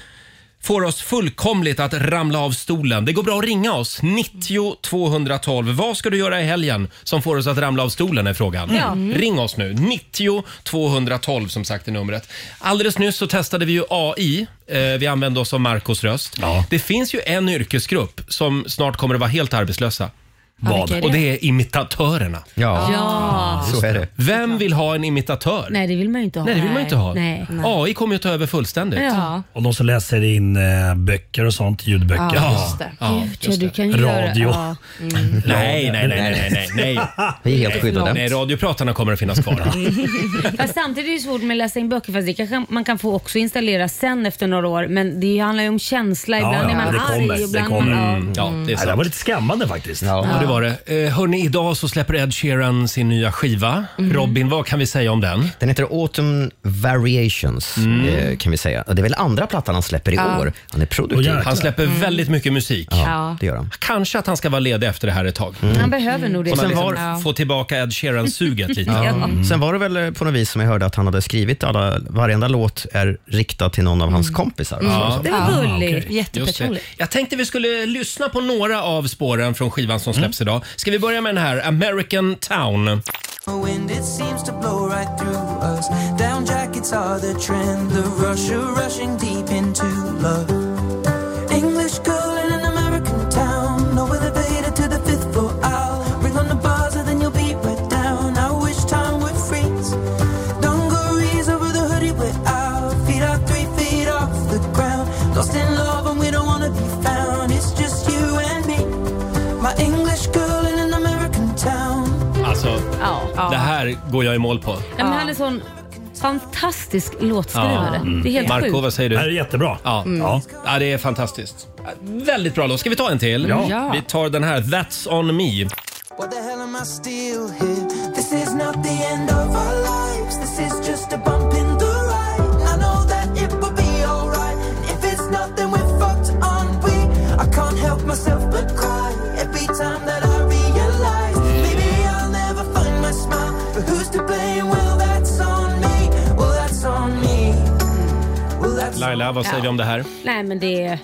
A: får oss fullkomligt att ramla av stolen? Det går bra att ringa oss. 90 212. Vad ska du göra i helgen som får oss att ramla av stolen är frågan.
H: Ja. Mm.
A: Ring oss nu. 90 212 som sagt är numret. Alldeles nyss så testade vi ju AI. Eh, vi använde oss av Marcos röst. Det finns ju en yrkesgrupp som snart kommer att vara helt arbetslösa.
B: Ja, vilka är det?
A: Och det är imitatörerna.
B: Ja. Ja.
A: Just
B: Så är
C: det.
A: Vem vill ha en imitatör?
B: Nej, det vill man ju inte ha.
A: Nej, det vill man inte ha.
B: Nej.
A: AI kommer ju ta över fullständigt.
B: Ja.
I: Och de som läser in eh, böcker och sånt, ljudböcker.
A: Ja, just det. Ja,
B: Gud, ja, du kan ju
I: Radio.
B: Göra, ja. mm.
A: Nej, nej, nej, nej, nej, nej.
C: Vi är helt
A: Nej,
C: skyddade.
A: Nej, radiopratarna kommer att finnas kvar.
B: Fast samtidigt är det ju svårt med att läsa in böcker fast det kanske man kan få också installera sen efter några år. Men det handlar ju om känsla. Ibland är man
I: det
B: arg.
I: kommer. Det
B: ibland
I: kommer.
B: Man,
A: Mm, Ja, det är sant.
I: det var lite skrämmande faktiskt.
A: Ja, det var det. Eh, hörni, idag så släpper Ed Sheeran sin nya skiva. Robin, vad kan vi säga om den?
C: Mhm. Den heter Autumn Variations
I: Mm.
C: eh, kan vi säga. Och Det är väl andra plattan han släpper i
A: Ja.
C: år. Han är produktiv.
A: Han släpper
C: Mm.
A: väldigt mycket musik.
C: Ja, det gör han.
A: Kanske att han ska vara ledig efter det här ett tag. Mm.
B: Han behöver nog det.
A: Och sen
B: liksom.
A: var,
B: Ja.
A: få tillbaka Ed Sheeran-suget lite.
C: Ja. Sen var det väl eh, på något vis som jag hörde att han hade skrivit alla, varenda låt är riktad till någon av hans kompisar.
A: Mm.
C: Så- så-
A: Det var
C: Ah,
A: gulligt.
C: okej.
A: Just det. Jag tänkte vi skulle lyssna på några av spåren från skivan som släpps
C: Mm.
A: idag. Ska vi börja med den här, American Town.
R: Wind, it seems to blow right through us. Down jackets are the trend, the rusher rushing deep into love. English girl in an American town, no elevator to the fifth floor. I'll ring on the bars and then you'll be right down. I wish time would freeze. Dungarees over the hoodie, we're out. Feet are three feet off the ground. Lost in love and we don't wanna be found. It's just you and me. My English girl in an American town.
A: Alltså, det här går jag i mål på.
B: Ja, men han är sån fantastisk låtskrivare. Det är helt
A: Mm. Marco,
B: sjukt.
A: vad säger du?
I: Det här är jättebra.
A: Ja.
B: Mm.
A: Ja. ja, det är fantastiskt. Väldigt bra låt. Ska vi ta en till?
R: Ja. Ja.
A: Vi tar den här, That's on me.
R: What the hell am I still here? This is not the end of our lives. This is just a bump in the ride. I know that it will be alright. If it's not, then we're fucked, aren't we? I can't help myself but cry every time that I realize. Maybe I'll never find my smile. But who's to blame? Well, that's on me. Well, that's on me. Well, that's
A: Laila, vad säger
B: Ja.
A: vi om det här?
B: Nej men det är...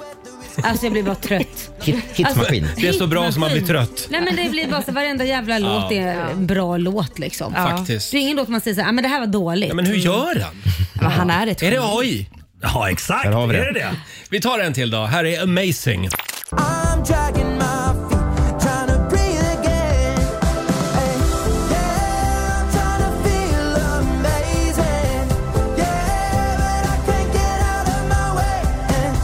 B: Alltså jag blir bara trött. hitmaskin.
A: det är så bra som man blir trött.
B: Nej men det blir bara så varenda jävla låt är en bra låt liksom.
A: Ja. Faktiskt.
B: Det är ingen låt man säger såhär, "Ah, men det här var dåligt.
A: Ja, men hur gör han?
B: Men han är ett
A: Är det
B: geni.
A: AI?
I: Ja, exakt.
A: Där har vi
I: Är
A: det.
I: det det?
A: Vi tar en till då. Här är Amazing.
R: I'm dragging my feet, trying to breathe again. Hey, yeah, I'm trying to feel amazing. Yeah, but I can't get out of my way. And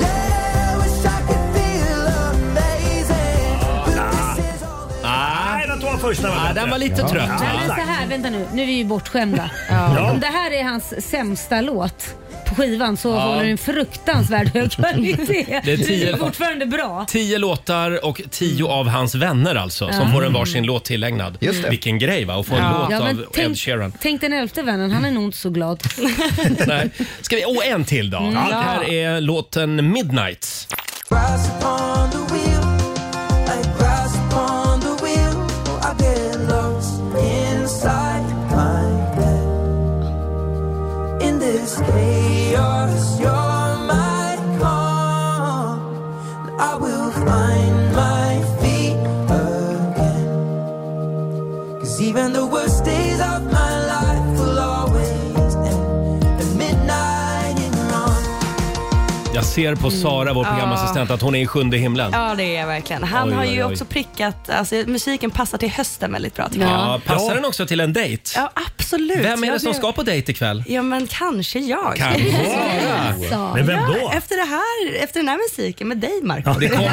R: yeah, I wish I could feel amazing. But this is all
A: Ah.
I: Nej, det var
Q: på första
A: Ja, Ah, den var lite trött.
B: Nej, men så här, vänta nu. Nu är vi ju bortskämda.
A: Ja.
B: Om det här är hans sämsta låt på skivan så håller den fruktansvärd hög kvalitet.
A: Det är tio-
B: Det är fortfarande bra.
A: Tio låtar och tio av hans vänner alltså som
B: Ja.
A: får en varsin låt tillägnad.
B: Just det.
A: Vilken grej va, att få en
B: Ja.
A: låt
B: Ja, men
A: av Ed Sheeran.
B: Tänk den elfte vännen, han är nog inte så glad.
A: Nej. Ska vi, och en till då.
B: Mm.
A: Det
B: Ja.
A: här är låten Midnight.
R: Grass upon the wheel, like grass upon the wheel. Oh, I get lost inside my head. In this chaos, you're my calm. I will find my feet again. Cause even the worst days of my life will always end at midnight in the morning.
A: Jag ser på
B: Mm.
A: Sara, vår
J: Ja.
A: programassistent, att hon är i sjunde himlen.
J: Ja, det är jag verkligen. Han
A: Oj,
J: har
A: oj,
J: ju
A: oj.
J: också prickat, alltså musiken passar till hösten väldigt bra tycker
A: Ja,
J: jag.
A: passar den också till en dejt?
J: Ja, absolut.
A: Vem är
J: Jag
A: det som
J: blev-
A: ska på dejt ikväll?
J: Ja, men kanske jag.
A: Kanske.
J: Ja.
A: Men vem då?
J: Ja, efter, det här, efter den här musiken med dig Marco.
A: Ja, det kommer-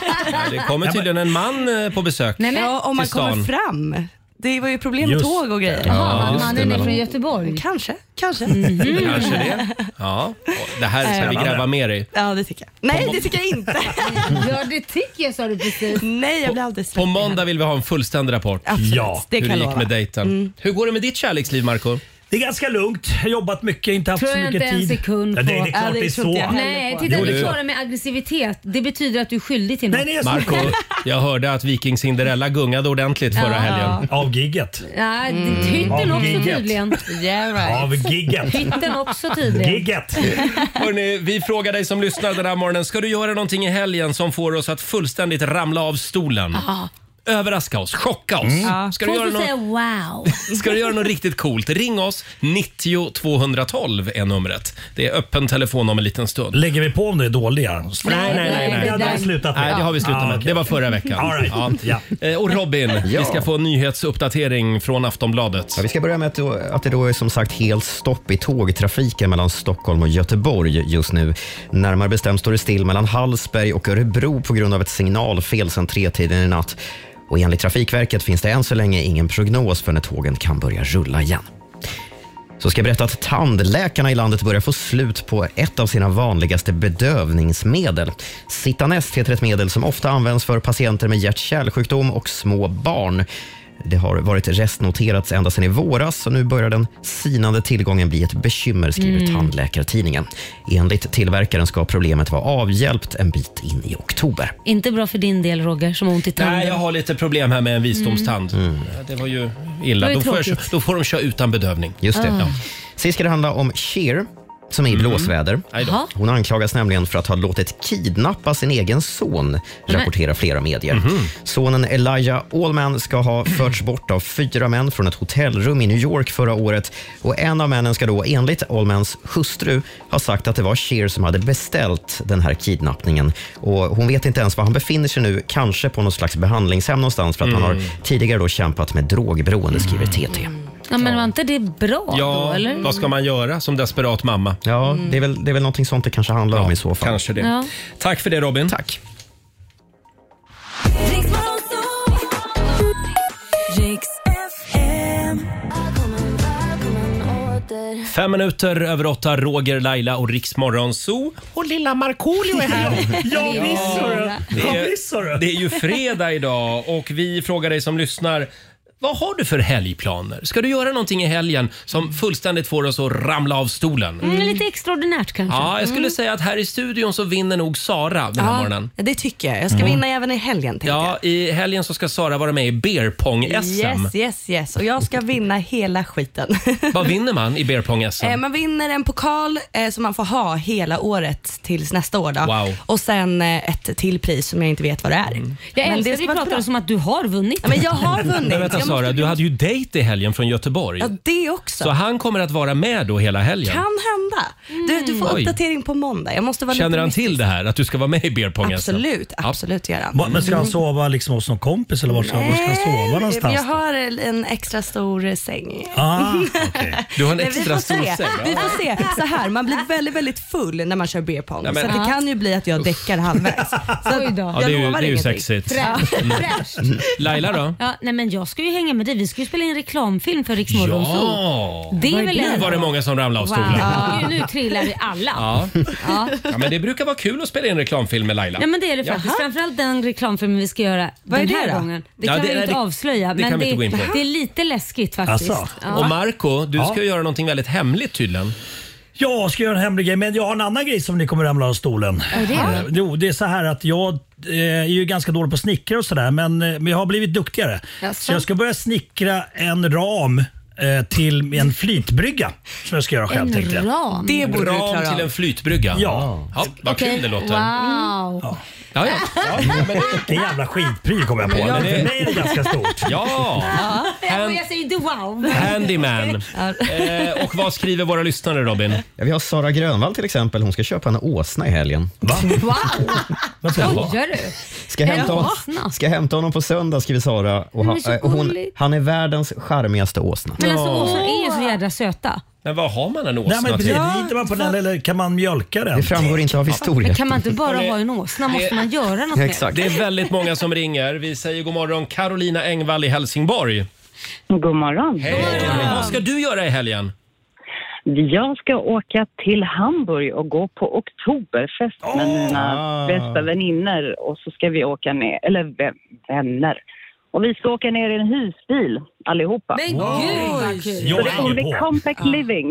A: Det kommer tydligen en man eh, på besök
J: Ja, om man
A: till stan.
J: kommer fram. Det var ju problem med
A: Just
J: tåg och grejer.
A: det. Jaha, Ja, just det, mannen är men- från
B: Göteborg? Mm.
J: Kanske, kanske.
A: Kanske det. Ja, det här ska vi
J: Spännande.
A: gräva mer i.
J: Ja, det tycker jag. Nej, det tycker jag inte.
B: ja, det tycker jag sa du precis.
J: Nej, jag blir alldeles
A: På måndag vill vi ha en fullständig rapport.
J: Absolut,
A: ja,
J: det
A: hur
J: kan
A: det
J: jag
A: gick
J: lova.
A: med dejten.
J: Mm.
A: Hur går det med ditt kärleksliv, Marco?
E: Det är ganska lugnt. Jag har jobbat mycket, inte haft
B: Tror
E: så
B: jag
E: mycket
B: inte en
E: tid.
B: sekund
E: ja,
B: på.
E: det, det är klart
B: Ja, det
E: det är
B: tror
E: så.
B: inte jag heller Nej, på. titta, du klarar med aggressivitet. Det betyder att du är skyldig till något.
A: Marco, jag hörde att Viking Cinderella gungade ordentligt
B: Ja.
A: förra helgen.
E: Av gigget.
B: Nej, det- hytten
A: Av
B: också
A: gigget.
B: tydligen.
J: Yeah, right.
A: Av gigget.
B: Hytten också tydligen.
A: Hörrni, vi frågar dig som lyssnar den här morgonen. Ska du göra någonting i helgen som får oss att fullständigt ramla av stolen?
B: Ja.
A: Överraska oss, chocka
E: Mm.
A: oss.
B: Ja.
A: Ska, du
B: Folk
A: göra
B: får säga
A: något,
B: wow.
A: ska du göra något riktigt coolt? Ring oss, 90 212 är numret. Det är öppen telefon om en liten stund.
E: Lägger vi på om det är dåliga? Nej,
A: nej, nej. nej.
E: Det har vi slutat med.
A: Nej, det har vi slutat
E: Ja,
A: med.
E: okej.
A: Det var förra veckan.
E: All right.
A: ja. Eh, Och Robin,
C: Ja.
A: vi ska få en nyhetsuppdatering från Aftonbladet.
C: Ja, vi ska börja med att, då, att det då är som sagt helt stopp i tågtrafiken mellan Stockholm och Göteborg just nu. Närmare bestämt står det still mellan Hallsberg och Örebro på grund av ett signalfel sedan tretiden i natt. Och enligt Trafikverket finns det än så länge ingen prognos för när tågen kan börja rulla igen. Så ska jag berätta att tandläkarna i landet börjar få slut på ett av sina vanligaste bedövningsmedel. Citanest heter ett medel som ofta används för patienter med hjärt-kärlsjukdom och små barn. Det har varit restnoterats ända sedan i våras och nu börjar den sinande tillgången bli ett bekymmer, skriver
S: Mm.
C: Tandläkartidningen. Enligt tillverkaren ska problemet vara avhjälpt en bit in i oktober.
B: Inte bra för din del Roger som har ont i tanden.
A: Nej, jag har lite problem här med en visdomstand.
C: Mm.
A: Det var ju illa.
B: Det var
A: Då
B: ju
A: får, jag,
B: tråkigt.
A: då får de köra utan bedövning.
C: Just det.
A: Ja.
C: Ja. Sist ska det handla om Cher som är i blåsväder.
A: då.
C: Hon anklagas nämligen för att ha låtit kidnappa sin egen son, rapporterar flera medier. Sonen Elijah Allman ska ha förts bort av fyra män från ett hotellrum i New York förra året. Och En av männen ska då enligt Allmans hustru ha sagt att det var Cher som hade beställt den här kidnappningen. Och Hon vet inte ens var han befinner sig nu, kanske på något slags behandlingshem någonstans för att han har tidigare då kämpat med drogberoende, skriver TT.
B: Ja, men var inte det bra då
A: Ja,
B: eller?
A: vad ska man göra som desperat mamma?
C: Ja, det, är väl, det är väl någonting sånt det kanske handlar om i så fall.
A: Kanske det.
B: Ja.
A: Tack för det Robin.
C: Tack.
A: Fem minuter över åtta, Roger, Laila och Riksmorgon Zoo. Och lilla Markoolio är här.
E: Ja, visst hörru.
A: Det
E: Ja,
A: är, det är ju fredag idag och vi frågar dig som lyssnar. Vad har du för helgplaner? Ska du göra någonting i helgen som fullständigt får oss att ramla av stolen?
B: Mm, lite extraordinärt kanske.
A: Ja, jag skulle
B: Mm.
A: säga att här i studion så vinner nog Sara den här
J: Ja,
A: morgonen.
J: Det tycker jag. Jag ska
A: Mm.
J: vinna även i helgen. tänkte
A: Ja, i helgen så ska Sara vara med i beer pong
J: jag.
A: sm
J: Yes, yes, yes. Och jag ska vinna hela skiten.
A: Vad vinner man i beer pong sm
J: Eh, Man vinner en pokal eh, som man får ha hela året tills nästa år. Då.
A: Wow. Mm.
J: Och sen eh, ett till pris som jag inte vet vad det är.
B: Jag
J: Men
B: älskar
J: det
B: att vi
J: ska vara
B: pratar
J: bra.
B: som att du har vunnit.
J: Ja, men jag har vunnit.
A: Men vänta,
J: jag
A: Sara, du hade ju dejt i helgen från Göteborg.
J: Ja, det också.
A: Så han kommer att vara med då hela helgen.
J: Kan hända. Du, du får
A: Oj.
J: uppdatering på måndag. Jag måste vara
A: Mm. Känner
J: lite
A: han till det här, att du ska vara med i beer pong SM?
J: Absolut, absolut gör han. Mm.
A: Va- Men ska han sova liksom hos någon kompis eller var ska, var ska han sova någonstans?
J: Jag
A: då?
J: har en extra stor säng.
A: Ah, Du har en
J: Men
A: extra
J: vi får
A: stor
J: se.
A: säng.
J: Vi får se. Så här, man blir väldigt, väldigt full när man kör beer pong.
A: Ja, men-
J: så att det
A: Ja.
J: kan ju bli att jag däckar halvvägs. Så Oj då.
A: Ja, det är ju- det är ju sexigt. Mm. Laila då?
B: Ja, nej men jag ska ju hänga med dig. Vi ska ju spela in reklamfilm för Rix Morgon
A: Ja!
B: Det är väl
A: nu var det många som ramlade av stolen.
B: Wow. Gud, nu trillar vi alla.
A: Ja.
B: Ja.
A: ja, men det brukar vara kul att spela in reklamfilm med Laila.
B: Nej men det är det faktiskt. Framförallt den reklamfilmen vi ska göra
J: Vad är
B: den
J: det
B: här
J: då?
B: gången. Det
A: Ja,
B: kan
A: det-
B: vi ju
A: nej,
B: inte
A: det-
B: avslöja.
A: det
B: men
A: kan vi inte gå in på.
B: det är lite läskigt faktiskt. Ja.
A: Och Marco, du ska
B: Ja.
A: ju göra någonting väldigt hemligt tydligen.
S: Jag ska göra en hemlig grej, men jag har en annan grej som ni kommer ramla av stolen.
A: Är det?
S: Eh, Jo, det är så här att jag eh, är ju ganska dålig på snickra och sådär, men, eh, men jag har blivit duktigare.
A: Jaså?
S: Så jag ska börja snickra en ram eh, till en flytbrygga som jag ska göra själv
B: En
S: tänkte jag.
B: ram? Det borde du
A: Ram
B: klara av.
A: till en flytbrygga. Ja. ja vad kul det låter.
B: Wow.
A: Ja, ja.
S: Vilken jävla skitpryl kom jag på.
A: Ja,
S: men
A: det-
S: för mig är det ganska stort.
A: Ja.
B: Ja. Jag, jag säger inte wow. men-
A: Handyman.
B: Ja.
A: Eh, och vad skriver våra lyssnare Robin?
C: Ja, vi har Sara Grönvall till exempel. Hon ska köpa en åsna i helgen. Va?
B: Wow!
C: Vad ska det vara?
B: Skojar du?
C: Ska hämta,
B: En
C: hon,
B: åsna?
C: ska hämta honom på söndag, skriver Sara. Och
B: Men
C: han,
B: så
C: eh, och hon,
B: gulligt.
C: han är världens charmigaste åsna.
B: Men alltså åsnor är ju så jävla söta.
A: Men vad har man en
S: Nej, men
A: åsna
S: precis,
A: till?
S: rider man på den eller kan man mjölka den?
C: Det framgår inte av
B: Men
C: historien.
B: kan man inte bara
A: Hörrni,
B: ha en åsna? Måste
A: det-
B: man göra något mer?
A: Det är väldigt många som ringer. Vi säger god morgon Carolina Engvall i Helsingborg.
T: God morgon.
A: Hej! Vad ska du göra i helgen?
T: Jag ska åka till Hamburg och gå på Oktoberfest med
A: Ah.
T: mina bästa vänner och så ska vi åka ner, eller vä- vänner. Och vi ska åka ner i en husbil allihopa.
B: Men
A: Wow. gud, vad kul.
T: Så
A: Jag
T: det kommer
A: hänger
T: bli
A: på. Mm.
T: compact living.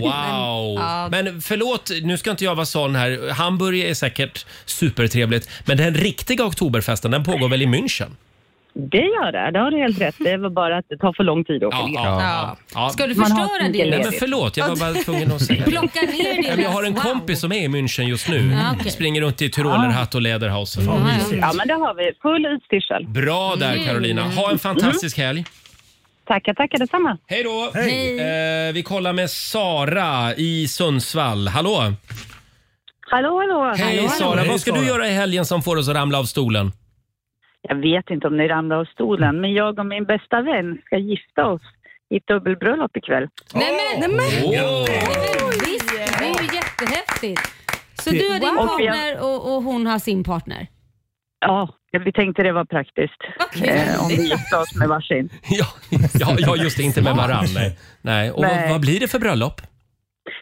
A: Wow!
T: Ja.
A: Men förlåt, nu ska inte jag vara sån här. Hamburg är säkert supertrevligt, men den riktiga oktoberfesten den pågår väl i München?
T: Det gör det, det har du helt rätt. Det var bara att det tar för lång tid att åka ner.
A: Ja.
B: Ska du
T: Man har
B: förstöra Alltså.
T: stinken
B: det?
A: Nej, men förlåt, jag var bara tvungen att säga det.
B: Plocka ner
A: Ja,
B: det.
A: men Jag har en kompis som är i München just nu.
B: Ja, okej.
A: Springer runt i tyrolerhatt och läderhosen.
T: Ja, men Mm. det har vi. Full utstyrsel.
A: Bra där Carolina. Ha en fantastisk helg.
T: Tackar, tackar detsamma.
A: Hej då! Eh, vi kollar med Sara i Sundsvall. Hallå!
T: Hallå, hallå.
A: Hej Sara, vad ska du göra i helgen som får oss att ramla av stolen?
T: Jag vet inte om ni ramlar av stolen, men jag och min bästa vän ska gifta oss i ett dubbelbröllop ikväll.
B: Nej men, nej men,
T: Åh.
B: nej, men visst, det är ju jättehäftigt. Så
T: Det-
B: du har din
T: Wow.
B: partner och, och hon har sin partner?
T: Ja, vi tänkte det var praktiskt eh, om vi gifte oss med varsin.
A: Ja, ja, ja just det, inte med varann. Nej. Nej. Och
T: Nej.
A: Vad, vad blir det för bröllop?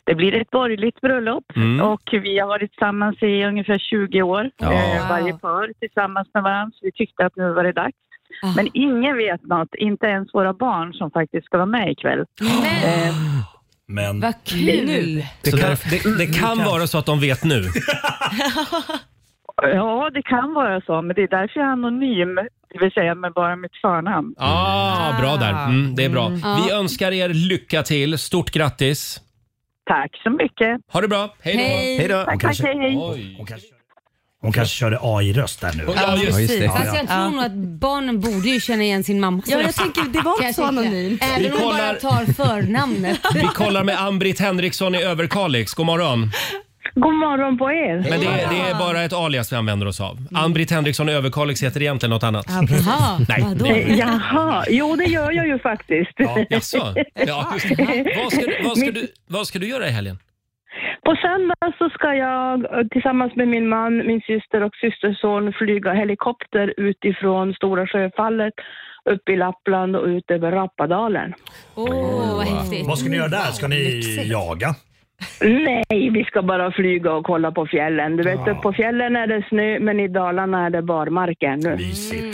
T: Det blir ett borgerligt bröllop
A: Mm.
T: och vi har varit tillsammans i ungefär 20 år,
A: Ja.
T: eh, varje par tillsammans med varandra. Så vi tyckte att nu var det dags.
A: Ah.
T: Men ingen vet något, inte ens våra barn som faktiskt ska vara med ikväll.
A: Ah,
T: Eh,
S: Men...
B: Vad
T: kul.
A: Det kan, det, det kan vara så att de vet nu.
T: Ja, det kan vara så, men det är därför jag är anonym, det vill säga med bara mitt förnamn.
A: Ah, bra där. Mm, det är bra.
T: Ja.
A: Vi önskar er lycka till. Stort grattis.
T: Tack så mycket.
A: Ha det bra. Hej då.
B: Hej.
S: Hej då.
T: Tack,
S: Hon kanske-
T: tack, hej.
S: Hon kanske, hon kanske körde AI-röst där nu.
A: Ja, just det.
B: Fast jag tror nog att barnen borde ju känna igen sin mamma.
J: Ja, jag tänker, det var
B: Kan
J: inte
B: jag
J: så
B: tycka.
J: anonymt.
A: Vi
B: Även om hon bara
A: kollar-
B: tar förnamnet.
A: Vi kollar med Ann-Britt Henriksson i Överkalix. God morgon.
T: God morgon på er.
A: Men det, är- det är bara ett alias vi använder oss av.
B: Mm.
A: Ann-Britt Henriksson i Överkalix heter egentligen något annat.
B: Jaha,
A: Nej. vadå?
T: Eh, Jaha, jo det gör jag ju faktiskt.
A: Ja, jaså? Ja, just det. Vad ska, du, vad, ska du, vad ska du göra i helgen?
N: På söndag så ska jag eh, tillsammans med min man, min syster och systerson flyga helikopter utifrån Stora Sjöfallet upp i Lappland och ut över Rappadalen.
B: Åh, vad häftigt.
S: Vad ska ni göra där? Ska ni jaga?
N: Nej, vi ska bara flyga och kolla på fjällen. Du vet,
S: Ja.
N: upp på fjällen är det snö, men i Dalarna är det barmarker nu.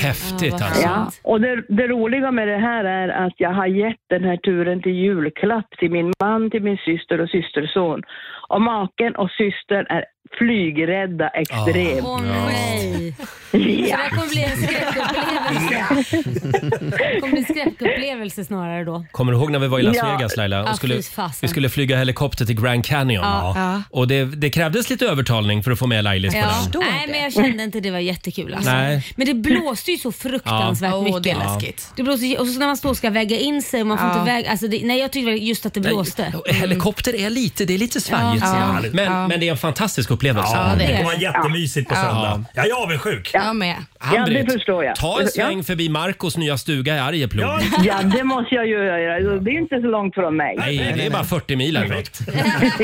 A: Häftigt
N: Ja,
A: alltså.
N: och det, det roliga med det här är att jag har gett den här turen till julklapp till min man, till min syster och systerson. Och maken och systern är flygrädda extremt.
B: Åh nej.
N: Ja.
B: Så det här kommer bli en skräckupplevelse. Det kommer bli en skräckupplevelse snarare då.
A: Kommer du ihåg när vi var i Las
B: Ja.
A: Vegas Laila?
B: Ja,
A: Och skulle,
B: fy fasen.
A: vi skulle flyga helikopter till Grand Canyon.
B: Ja. Ja.
A: Och det, det krävdes lite övertalning för att få med Lailis på den.
B: Nej, men jag kände inte det var jättekul. Alltså.
A: Nej.
B: Men det blåste ju så fruktansvärt
J: Ja. Åh,
B: mycket.
J: det är läskigt.
B: Det blåste, och så när man står och ska väga in sig och man får
J: Ja.
B: inte väga... Alltså det, nej, jag tyckte just att det blåste. Mm.
A: Helikopter är lite, det är lite svajigt.
B: Ja.
A: sådär.
B: Ja.
A: Men,
B: Ja.
A: men det är en fantastisk upplevelse.
S: Ja, det är det. Det kommer vara jättemysigt på söndag. Ja, jag är avundsjuk.
J: Jag med.
A: Ann-Britt,
N: förstår jag.
A: Ta en sväng förbi Marcos nya stuga i Arjeplog.
N: Ja, det måste jag ju göra. Det är inte så långt från mig.
A: Nej, det är bara 40 mil härifrån.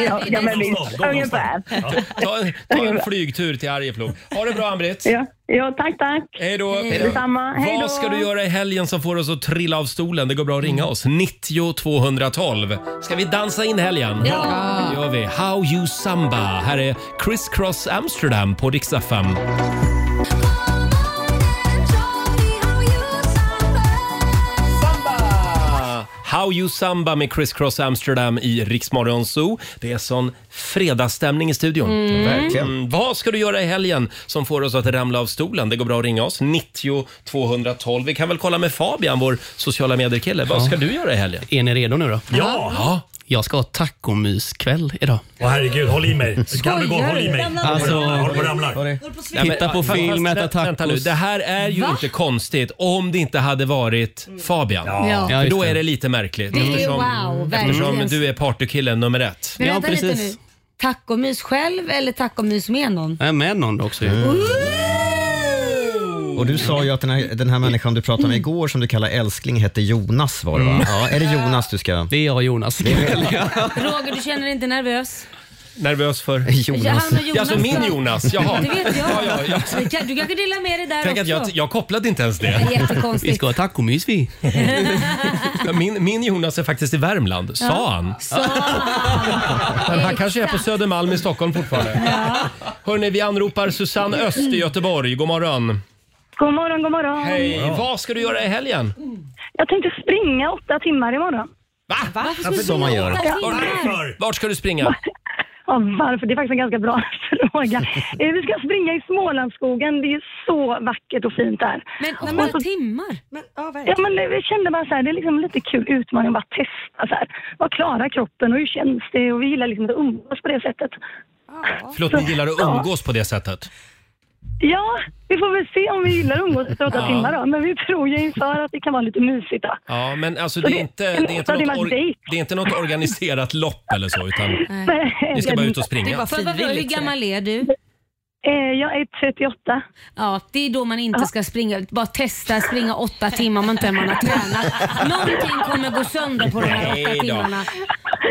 N: Ja, ja, men visst.
A: Gå någonstans.
N: Ungefär.
A: Ta, en- ta en flygtur till Arjeplog. Ha det bra Ann-Britt.
N: Ja, ja, tack, tack.
A: Hej då.
N: Detsamma. Hej då.
A: Vad ska du göra i helgen som får oss att trilla av stolen? Det går bra att ringa oss. 90 212. Ska vi dansa in helgen?
R: Ja.
A: Det gör vi. How you samba. Här är Criss Cross Amsterdam på Dix FM. How you samba med Criss Cross Amsterdam i Riksmorgon Zoo. Det är sån fredagsstämning i studion.
R: Mm. Verkligen.
A: Vad ska du göra i helgen som får oss att ramla av stolen? Det går bra att ringa oss. 90 212. Vi kan väl kolla med Fabian, vår sociala medier-kille. Vad ska du göra i helgen?
M: Är ni redo nu då?
A: Ja!
M: Jag ska ha tacomyskväll idag.
S: Åh herregud, håll i mig. Gamle gård, håll i mig.
M: Alltså,
S: håll på ramlar.
M: Titta på film, äta
A: Vänta- Vänta nu,
M: tacos.
A: det här är ju
M: Va?
A: inte konstigt om det inte hade varit Fabian.
M: Ja. Ja,
A: För
M: just
A: då
M: det.
A: är det lite märkligt.
B: Mm. Det är ju
A: eftersom
B: wow,
A: eftersom
B: verkligen.
A: du är partykillen nummer ett.
B: Men vänta lite nu. Tacomys själv eller tacomys med någon?
M: Jag är med någon också ju.
A: Mm.
C: Mm. Och du sa ju att den här, den här människan du pratade
B: Mm.
C: med igår som du kallar älskling hette Jonas var det va? Ja, är det Jonas du ska...
M: Mm. Det är jag och Jonas.
B: Roger, du känner dig inte nervös?
A: Nervös för?
B: Ja, han och Jonas
A: Ja, alltså min
B: då.
A: Jonas, jaha.
B: Det vet jag.
A: Ja, ja, ja.
B: Du kan- Du kanske delar med dig där
A: Tänk
B: också.
A: att jag, jag kopplade inte ens det.
B: Det är jättekonstigt. Vi ska
A: ha tacomys vi. min, min Jonas är faktiskt i Värmland,
B: Ja.
A: sa han.
B: Sa
A: Men han kanske är på Södermalm i Stockholm fortfarande. Hörni, vi anropar Susanne Öst i Göteborg. God morgon.
U: God morgon, god morgon.
A: Hej. Vad ska du göra i helgen?
U: Jag tänkte springa åtta timmar imorgon.
A: Va?
U: ska du Som man springa gör. åtta timmar?
A: Vart, vart ska du springa?
U: Ja, varför? Det är faktiskt en ganska bra fråga. Eh, Vi ska springa i Smålandsskogen. Det är så vackert och fint där.
B: Men
U: Och
B: några
U: så-
B: timmar?
U: Ja, men eh, vi kände bara så här, det är liksom lite kul utmaning att bara testa så här. Vad klarar kroppen och hur känns det? Och vi gillar liksom att umgås på det sättet.
A: Förlåt, ni gillar att umgås på det sättet?
U: Ja, vi får väl se om vi gillar att umgås efter åtta
A: Ja.
U: timmar då. Men vi tror ju inför att det kan vara lite mysigt då.
A: Ja, men alltså
U: Så
A: det är
U: det-
A: inte,
U: en
A: det är inte,
U: åtta
A: något,
U: timmars
A: or,
U: dejt.
A: det är inte något organiserat lopp eller så, utan
U: Nej.
A: ni ska bara ut och springa.
B: Får jag bara fråga, hur gammal är du?
U: Eh, Jag är 38.
B: Ja, det är då man inte ska springa. Bara testa springa åtta timmar om inte man har tränat. Någonting kommer gå sönder på de här åtta
A: Nej då.
B: timmarna.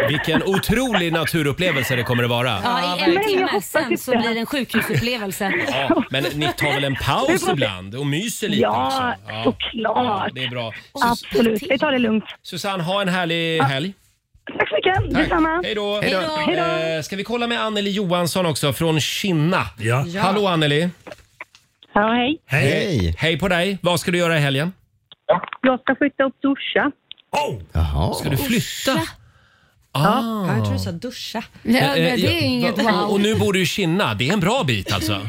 A: Vilken otrolig naturupplevelse det kommer att vara.
B: Ja, i
U: Men
B: en
U: jag
B: timme
U: hoppas
B: sen så
U: inte.
B: blir det en sjukhusupplevelse.
A: Ja, men ni tar väl en
U: Vi
A: paus
U: får-
A: ibland och myser lite
U: Ja,
A: också?
U: såklart.
A: det är bra.
U: Absolut, vi tar det lugnt.
A: Susanne, ha en härlig helg.
U: Tack så mycket, detsamma.
A: Hej då.
U: Hej då. Hej då.
A: Eh, ska vi kolla med Anneli Johansson också från Kinna? Ja. Hallå Anneli.
V: Ja, hej.
A: Hej. Hej på dig. Vad ska du göra i helgen?
V: Jag ska flytta upp till Orsa.
A: Oh! Jaha. Ska du flytta? Ah.
J: Ja, jag tror du sa duscha.
A: Eh, eh, ja, va- Och nu bor du i Kinna. Det är en bra bit alltså.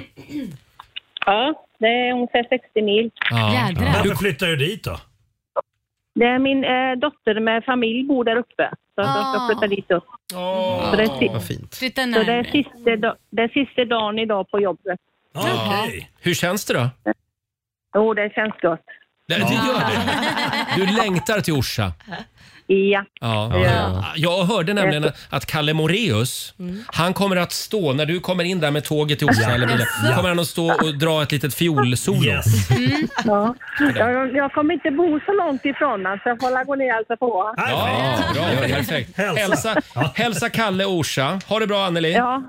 V: Ja, det är ungefär 60 mil.
S: Varför flyttar du dit då?
V: Det är min eh, dotter med familj bor där uppe. Så att jag ska flytta dit upp. Så, det är, si-
A: Ah, Vad fint.
B: Ah. Flytta
V: så det, är
B: närmare.
V: sista, da- det är sista dagen idag på jobbet.
A: Ja. Hur känns det då?
V: Jo, det känns gott.
A: Det, det gör det. Du längtar till Orsa.
V: Ja.
A: Ja.
V: Ja. Mm.
A: Jag hörde nämligen att Kalle Moreus, han kommer att stå, när du kommer in där med tåget till Orsa
V: Ja.
A: eller bilen,
V: Ja.
A: kommer han att stå och dra ett litet fiolsolo.
B: Mm.
V: Ja. Jag, jag kommer inte bo så långt ifrån alltså. Jag får la gå ner och hälsa på honom.
A: Ja, bra, perfekt.
V: Hälsa.
A: Hälsa, hälsa Kalle och Orsa. Ha det bra Anneli.
V: Ja.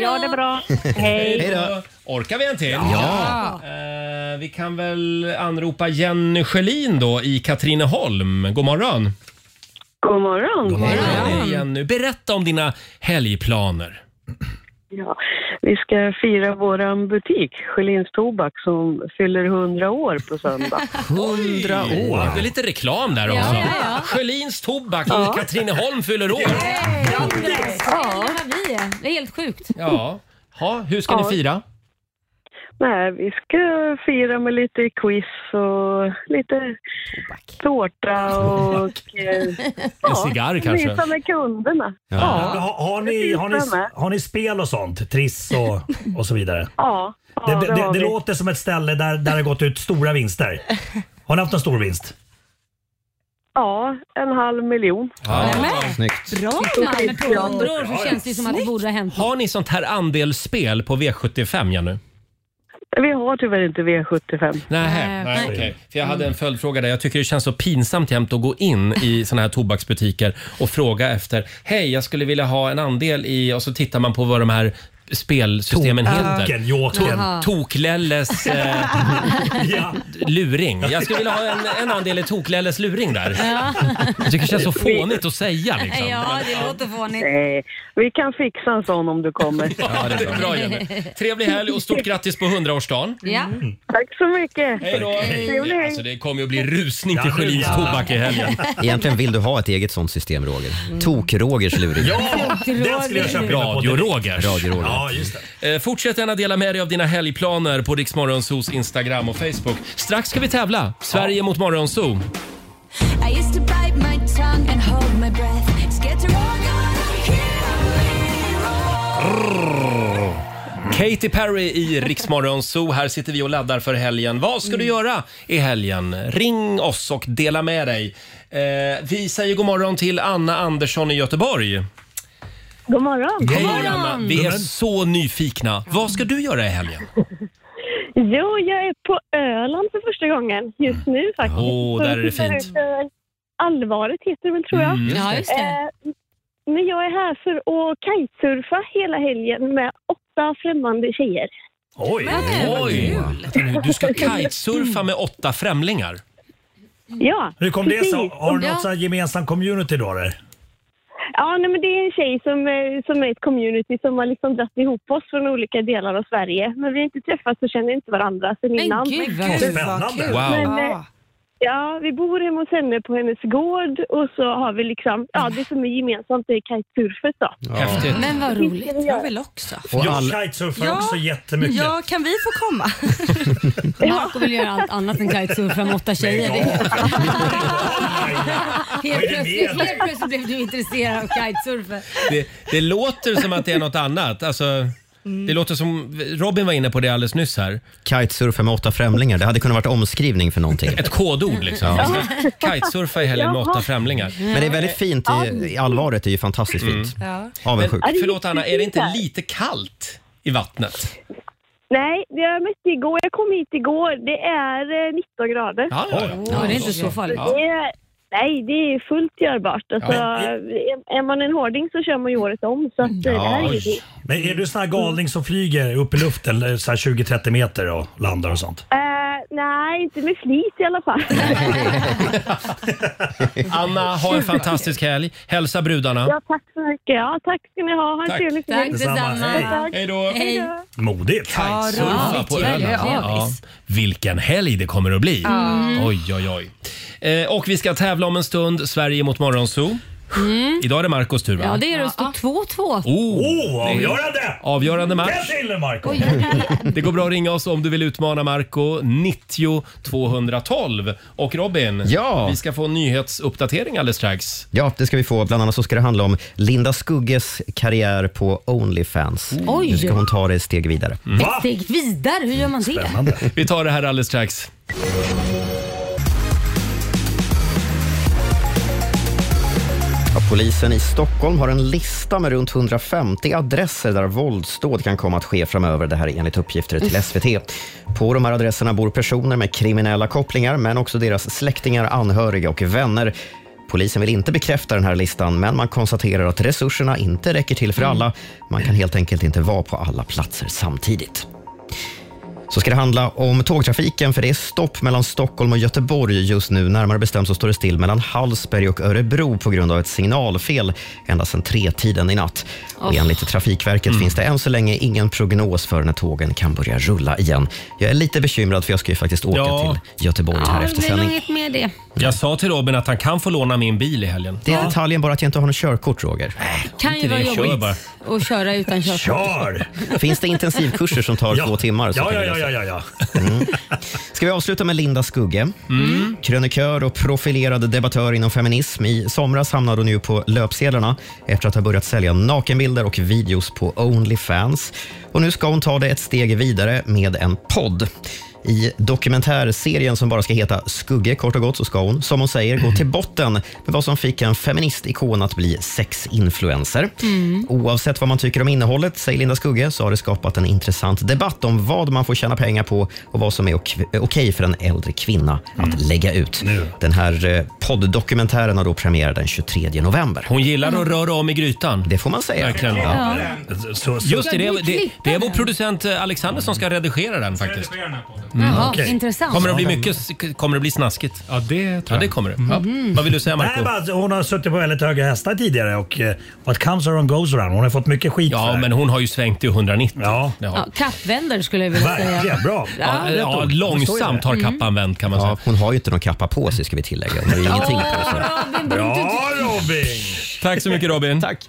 V: Ja, det är bra. Hej.
A: Orkar vi en till?
V: Ja.
A: Eh, vi kan väl anropa Jenny Schelin då i Katrineholm. God morgon.
V: God morgon.
A: God morgon. Jenny, berätta om dina helgplaner.
V: Ja, vi ska fira vår butik, Sjölins Tobak, som fyller 100 år på söndag.
A: 100 år. Det är lite reklam där också. Sjölins Tobak
V: Ja.
A: i Katrineholm fyller år.
B: Ja. Det är helt sjukt.
A: Ja. Ha, hur ska
V: Ja.
A: ni fira?
N: Nej, vi ska fira med lite quiz och lite tårta och... En
A: En cigarr kanske?
N: Mysa med kunderna.
A: Ja.
N: Ja.
I: Har, har, ni,
N: precis
I: har, ni,
N: samma.
I: har ni spel och sånt? Triss och, och så vidare?
N: Ja, ja,
I: Det, det,
N: det
I: det,
N: har vi.
I: låter som ett ställe där, där det gått ut stora vinster. Har ni haft en stor vinst?
N: ja, en halv miljon.
A: Snyggt.
B: Bra! Men på 100 år så känns det ju som att det borde ha hänt
A: Har ni sånt här andelsspel på V75 ja, nu?
N: Vi har tyvärr inte V75.
A: Nej, nej, okej. För jag hade en följdfråga där. Jag tycker det känns så pinsamt jämt att gå in i såna här tobaksbutiker och fråga efter Hej, jag skulle vilja ha en andel i... Och så tittar man på vad de här spelsystemen
I: Tok-
A: heter.
I: Joken, joken.
A: To- Toklelles eh, luring. Jag skulle vilja ha en, en andel i Toklelles luring där.
B: Ja.
A: Jag tycker det känns så fånigt att säga liksom.
B: Ja, det låter fånigt.
N: Nej, vi kan fixa en sån om du kommer.
A: Ja, det är bra Jenny. Trevlig helg och stort grattis på 100-årsdagen.
B: Ja.
N: Tack så mycket.
A: Hej då!
N: Trevlig helg.
A: Alltså, det kommer ju bli rusning till Sjölins tobak i helgen.
C: Egentligen vill du ha ett eget sånt system, Roger. Tok-Rogers luring.
A: Den skulle jag köpa. Radio Rogers.
C: Radio Roger.
A: Ja, just det. Eh, Fortsätt gärna dela med dig av dina helgplaner på Riksmorgonsos Instagram och Facebook. Strax ska vi tävla. Sverige mot Morgonzoo.
E: I used to bite my tongue and hold my breath. Scared to roll, gonna
A: Katy Perry i Riksmorgonzoo. Här sitter vi och laddar för helgen. Vad
V: Mm.
A: ska du göra i helgen? Ring oss och dela med dig. Eh, vi säger god morgon till Anna Andersson i Göteborg.
V: God morgon.
A: Hej, Anna. Vi är så nyfikna. Vad ska du göra i helgen?
V: Jo, jag är på Öland för första gången just nu faktiskt.
A: Åh,
V: Så
A: där är det
V: tittar
A: fint.
V: ut över Allvaret heter det väl tror jag.
A: Mm, just det. Ja, just
V: Eh, men jag är här för att kitesurfa hela helgen med åtta främmande tjejer.
A: Oj! Oj. Du ska kitesurfa med åtta främlingar.
V: Ja,
I: Hur kom det sig?
V: precis.
I: Har du något så här gemensam community då? Eller?
V: Ja, nej, men det är en tjej som, eh, som är ett community som har liksom dratt ihop oss från olika delar av Sverige. Men vi har inte träffats och känner inte varandra sen innan.
B: gud, vad Vad kul. spännande. kul. Wow.
V: eh, ja, vi bor hemma hos henne på hennes gård och så har vi liksom, ja det som är gemensamt är kitesurfet då.
A: Häftigt.
Q: Men vad roligt. Jag vill också.
I: Jag kitesurfar också jättemycket.
Q: Ja, kan vi få komma?
B: Marco vill göra allt annat än kitesurfa med åtta tjejer. Det är- Helt plötsligt, helt plötsligt blev du intresserad av kitesurfer.
A: Det, det låter som att det är något annat. Alltså,
C: Mm.
A: Det låter som, Robin var inne på det alldeles nyss här.
C: Kitesurfa med åtta främlingar. Det hade kunnat varit omskrivning för någonting.
A: Ett kodord liksom.
C: Ja.
A: Kitesurfa i helgen med åtta främlingar. Mm.
C: Men det är väldigt fint. I, i allvaret är ju fantastiskt fint.
V: Ja.
C: Avundsjuk.
A: Men, förlåt Anna, är det inte lite kallt i vattnet?
V: Nej, det jag mätte igår, jag kom hit igår, det är eh, 19 grader.
A: Ja, ja, ja.
B: Åh, det är inte så farligt.
V: Det är, nej, det är fullt görbart. Alltså, är, är man en hårding så kör man ju året om. Så att, eh, det här är ingenting.
I: Men är du sån här galning som flyger upp i luften eh, så här 20-30 meter och landar och sånt?
V: Eh, nej, inte med flit i alla fall.
A: Anna, ha en fantastisk helg. Hälsa brudarna.
V: ja, tack så mycket. Ja, tack ska ni ha. Ha en
A: Tack.
V: trevlig
A: Tack
V: semester.
A: detsamma. Hej.
V: Tack.
A: Hej då.
V: Hej då.
I: Modigt.
A: Kitesurfa
I: Ja,
A: på
I: riktigt.
A: Öland.
I: Ja,
A: Ja,
I: visst.
A: vilken helg det kommer att bli.
B: Mm.
A: Oj, oj, oj. Eh, och vi ska tävla om en stund. Sverige mot Morgonzoo.
B: Mm.
A: Idag är det Marcos tur va?
B: Ja, det är det. Det står 2-2.
A: Oh, det är Avgörande match.
I: till Marco!
A: Det går bra att ringa oss om du vill utmana Marco 90 212. Och Robin,
C: Ja.
A: vi ska få en nyhetsuppdatering alldeles strax.
C: Ja, det ska vi få. Bland annat så ska det handla om Linda Skugges karriär på Onlyfans.
B: Oj.
C: Nu ska hon ta det ett steg vidare.
B: Ett steg vidare, hur gör man det?
A: Vi tar det här alldeles strax.
C: Ja, polisen i Stockholm har en lista med runt 150 adresser där våldsdåd kan komma att ske framöver. Det här är enligt uppgifter till SVT. På de här adresserna bor personer med kriminella kopplingar, men också deras släktingar, anhöriga och vänner. Polisen vill inte bekräfta den här listan, men man konstaterar att resurserna inte räcker till för alla. Man kan helt enkelt inte vara på alla platser samtidigt. Så ska det handla om tågtrafiken, för det är stopp mellan Stockholm och Göteborg just nu. Närmare bestämt så står det still mellan Hallsberg och Örebro på grund av ett signalfel ända sedan tretiden i natt. Och enligt Trafikverket finns
A: Mm.
C: det än så länge ingen prognos för när tågen kan börja rulla igen. Jag är lite bekymrad, för jag ska ju faktiskt åka
A: Ja.
C: till Göteborg här efter
B: Det är nog
C: sändning.
B: inget med det.
A: Jag sa till Robin att han kan få låna min bil i helgen.
C: Det är detaljen bara att jag inte har något körkort, Roger.
B: Kan ju vara
A: Kör bara.
B: jobbigt att köra utan körkort.
C: Finns det intensivkurser som tar
I: Ja.
C: två timmar så
I: Ja,
C: kan
I: ja,
C: du
I: ja,
C: lösa
I: ja, ja, ja.
C: Ska vi avsluta med Linda Skugge, krönikör och profilerad debattör inom feminism. I somras hamnade hon ju på löpsedlarna efter att ha börjat sälja nakenbilder och videos på Onlyfans. Och nu ska hon ta det ett steg vidare med en podd. I dokumentärserien som bara ska heta Skugge, kort och gott, så ska hon, som hon säger, gå till botten med vad som fick en feministikon att bli sexinfluencer.
W: Mm.
C: Oavsett vad man tycker om innehållet, säger Linda Skugge, så har det skapat en intressant debatt om vad man får tjäna pengar på och vad som är ok- okej för en äldre kvinna
A: Mm.
C: att lägga ut. Den här eh, podd-dokumentären har då premiär den 23 november.
A: Hon gillar att röra om i grytan.
C: Det får man säga.
A: Verkligen.
C: Ja.
I: Så- så-
A: Just det, det,
B: Ska
A: är-
B: du
A: det,
B: klippa
A: det är vår
B: den?
A: producent eh, Alexander som ska redigera den faktiskt. Mm.
B: Jaha, Okej. intressant.
A: Kommer det bli mycket, kommer det bli snaskigt? Ja, det tror jag. Mm. Ja, det kommer det. Ja.
B: Mhm.
A: Vad vill du säga Marco?
I: Nej, bara, hon har suttit på väldigt höga hästar tidigare och eh, what comes around goes around. Hon har fått mycket skit
A: Ja, men hon har ju svängt till 190. Ja.
B: Ja, kappvänder skulle jag vilja säga.
I: Verkligen, bra.
A: Ja,
B: Ja,
A: ja, långsamt
B: Mm.
A: har
I: Mm.
A: kappan vänt kan man säga.
C: Hon har ju inte någon kappa på sig ska vi tillägga. Hon har ju ingenting på sig.
I: Bra Robin!
A: Tack så mycket Robin. Tack.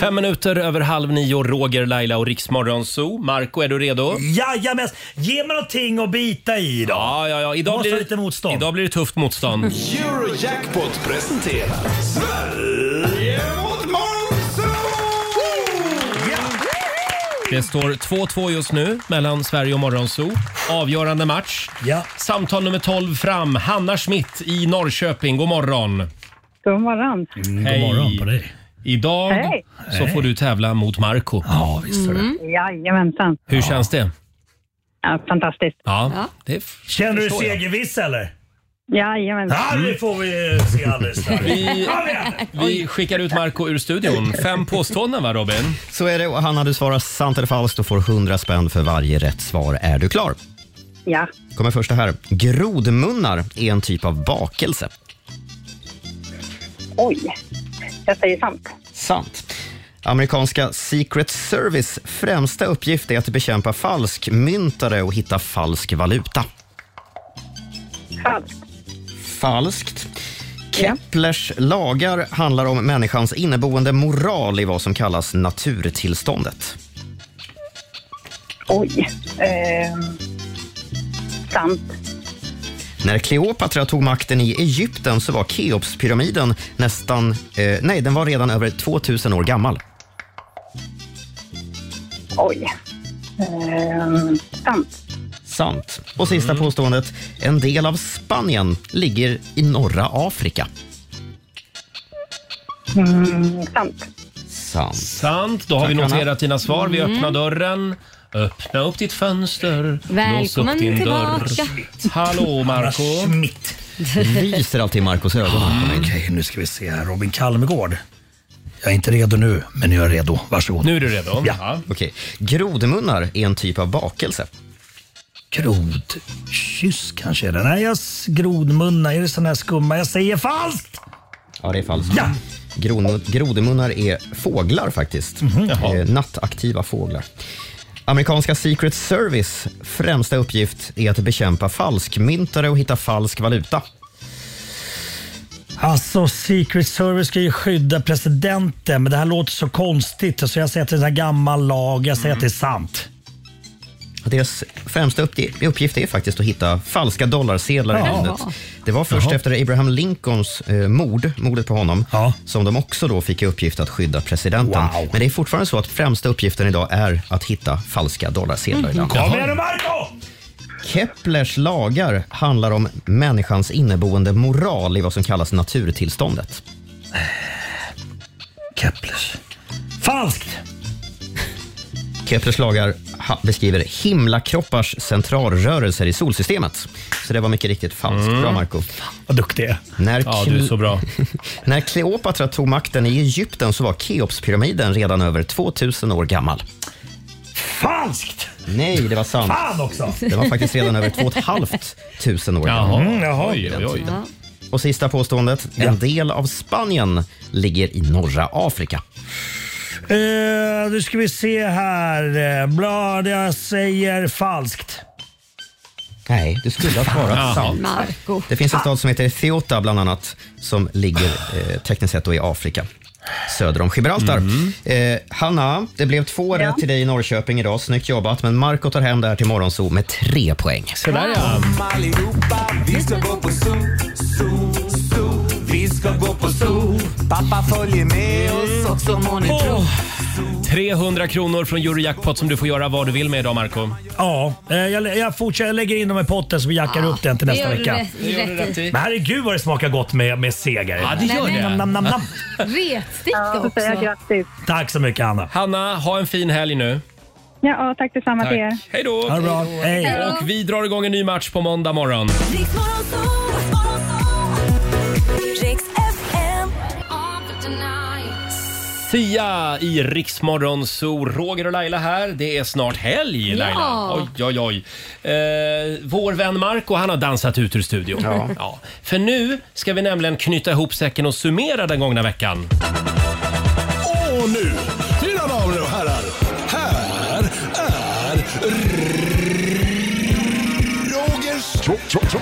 A: Fem minuter över halv nio, Roger, Laila och Riksmorgon Zoo. Marco, är du redo?
I: Jajamän! Ge mig någonting att bita i då.
A: Ja, ja, ja. Idag,
I: Måste
A: blir det,
I: ha lite motstånd.
A: idag blir det tufft motstånd.
E: Eurojackpot presenterar Sverige mot
A: Det står 2-2 just nu mellan Sverige och Morgonzoo. Avgörande match. Samtal nummer 12 fram. Hanna Schmidt i Norrköping. God morgon.
T: God morgon.
A: Hej.
T: morgon
I: på dig.
A: Idag
T: Hej.
A: så får du tävla mot Marco. Ja,
T: Mm. Jajamensan.
A: Hur känns det?
T: Ja, fantastiskt.
A: Ja, det f-
I: Känner du dig
A: förstår jag.
I: segerviss eller?
T: Jajamensan.
I: Ja, det får vi eh, se alldeles strax.
A: Vi-
I: Kom igen!
A: Vi skickar ut Marco ur studion. Fem påståenden va Robin?
C: Så är det och Hanna, du svarar sant eller falskt och får 100 spänn för varje rätt svar. Är du klar?
T: Ja,
C: kommer första här. Grodmunnar är en typ av bakelse.
T: oj. Jag säger sant.
C: Sant. Amerikanska Secret Service främsta uppgift är att bekämpa falskmyntare och hitta falsk valuta.
T: Falskt.
C: Falskt. Keplers lagar handlar om människans inneboende moral i vad som kallas naturtillståndet.
T: Oj. Ehm, sant.
C: När Kleopatra tog makten i Egypten så var Keopspyramiden nästan, eh, nej, den var redan över 2000 år gammal.
T: Oj. Ehm, sant.
C: Sant. Och sista
A: Mm.
C: påståendet. En del av Spanien ligger i norra Afrika.
T: Mm, sant.
C: Sant.
A: Sant. Då har
C: Tack,
A: vi noterat
C: Anna.
A: dina svar. Vi
T: Mm.
A: öppnar dörren. Öppna upp ditt fönster. Lås upp
B: Välkommen
A: din
B: tillbaka.
A: dörr. Hallå Marco.
C: Lyser alltid Marcos ögon.
I: Ah,
C: Mm.
I: Okej, nu ska vi se här. Robin Kalmegård. Jag är inte redo nu, men nu är jag redo. Varsågod.
A: Nu är du redo?
I: Ja.
C: Okej. Grodmunnar är en typ av bakelse.
I: Grodkyss kanske är det. Nej, jag s- grodmunnar. Är det sån här skumma? Jag säger falskt!
C: Ja, det är falskt. Ja. Grodmunnar är fåglar faktiskt. Eh, nattaktiva fåglar. Amerikanska Secret Service främsta uppgift är att bekämpa falskmyntare och hitta falsk valuta.
I: Alltså, Secret Service ska ju skydda presidenten, men det här låter så konstigt. Så jag säger att det är en gammal lag. Jag säger att det är sant.
C: Deras främsta uppgi- uppgift är faktiskt att hitta falska dollarsedlar i
I: Jaha.
C: landet. Det var först
I: Jaha.
C: efter Abraham Lincolns eh, mord, mordet på honom, som de också då fick i uppgift att skydda presidenten. Men det är fortfarande så att främsta uppgiften idag är att hitta falska dollarsedlar i landet.
I: Kom igen nu Marco!
C: Keplers lagar handlar om människans inneboende moral i vad som kallas naturtillståndet.
I: Keplers. Falskt!
C: Keplers lagar ha- beskriver himlakroppars centralrörelser i solsystemet. Så det var mycket riktigt falskt. Bra, Marco.
I: Vad duktig jag är.
C: När
A: Mm. Ja, du är så bra.
C: När Kleopatra tog makten i Egypten så var Keopspyramiden redan över 2000 år gammal.
I: Falskt!
C: Nej, det var sant.
I: Fan också!
C: Det var faktiskt redan över 2500 år gammal.
I: Mm, jaha. Oj, oj, oj.
C: Och sista påståendet. En del av Spanien ligger i norra Afrika.
I: Eh, nu ska vi se här. Eh, Blad, jag säger falskt.
C: Nej, du skulle ha
I: Jaha.
C: svarat sant.
I: Marco.
C: Det finns en stad som heter Ceuta bland annat som ligger eh, tekniskt sett då i Afrika. söder om Gibraltar.
I: Mhm.
C: Eh, Hanna, det blev två rätt till dig i Norrköping idag. Snyggt jobbat, men Marco tar hem det här till Morgonzoo med tre poäng.
A: Så där ja.
O: Kom allihopa, vi ska gå på zoo, zoo, zoo. Vi ska gå på zoo. Pappa följer med oss
C: Mm.
O: också må ni tro.
A: 300 kronor från Eurojackpot som du får göra vad du vill med idag, Marco.
S: Ja, eh, jag, lä- jag, fortsätter, jag lägger in dem i potten så vi jackar upp den till
A: det
S: nästa
A: gör du
S: vecka.
A: rätt- Det gör du rätt i.
S: Men herregud vad det smakar gott med, med seger.
A: Ja, det gör det.
S: Nam, nam, nam, nam.
B: Retstick
K: Ja, så
B: också.
K: säger jag grattis.
S: Tack så mycket Anna.
A: Hanna, ha en fin helg nu.
K: Ja, och tack detsamma till er.
A: Tack. Hej då!
S: Ha det bra. Hej.
K: Hej då.
A: Och vi drar igång en ny match på måndag morgon.
H: Riks FM.
A: Sia i Riksmorgon, så Roger och Laila här. Det är snart helg,
H: Ja.
A: Laila. Oj, oj, oj. Eh, vår vän Marco, han har dansat ut ur studion.
C: Ja.
A: För nu ska vi nämligen knyta ihop säcken och summera den gångna veckan.
D: Och nu, mina damer och herrar, här är Rogers... Topp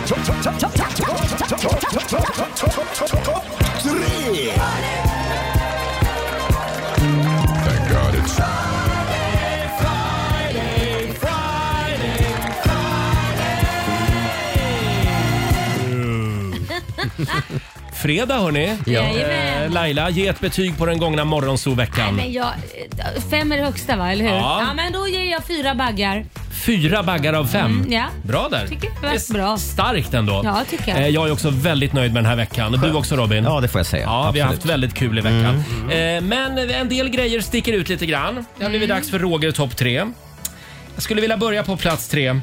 D: tre!
A: Fredag, hörni.
B: Ja. Jajamän.
A: Eh, Laila, ge ett betyg på den gångna
B: Nej,
A: morgonsoveckan.
B: men jag, fem är det högsta va, eller hur?
A: Ja.
B: Ja. men då ger jag fyra baggar.
A: Fyra baggar av fem.
B: Mm, ja.
A: Bra där.
B: Tycker jag var bra.
A: Starkt ändå.
B: Ja, tycker jag.
A: Eh, Jag är också väldigt nöjd med den här veckan. Du också Robin?
C: Ja, det får jag säga.
A: Ja, vi
C: Absolut.
A: har
C: Mm.
A: haft väldigt kul i veckan. Eh, Men en del grejer sticker ut lite grann. Det har blivit
B: Mm.
A: dags för Roger topp tre. Jag skulle vilja börja på plats tre.
C: Mm.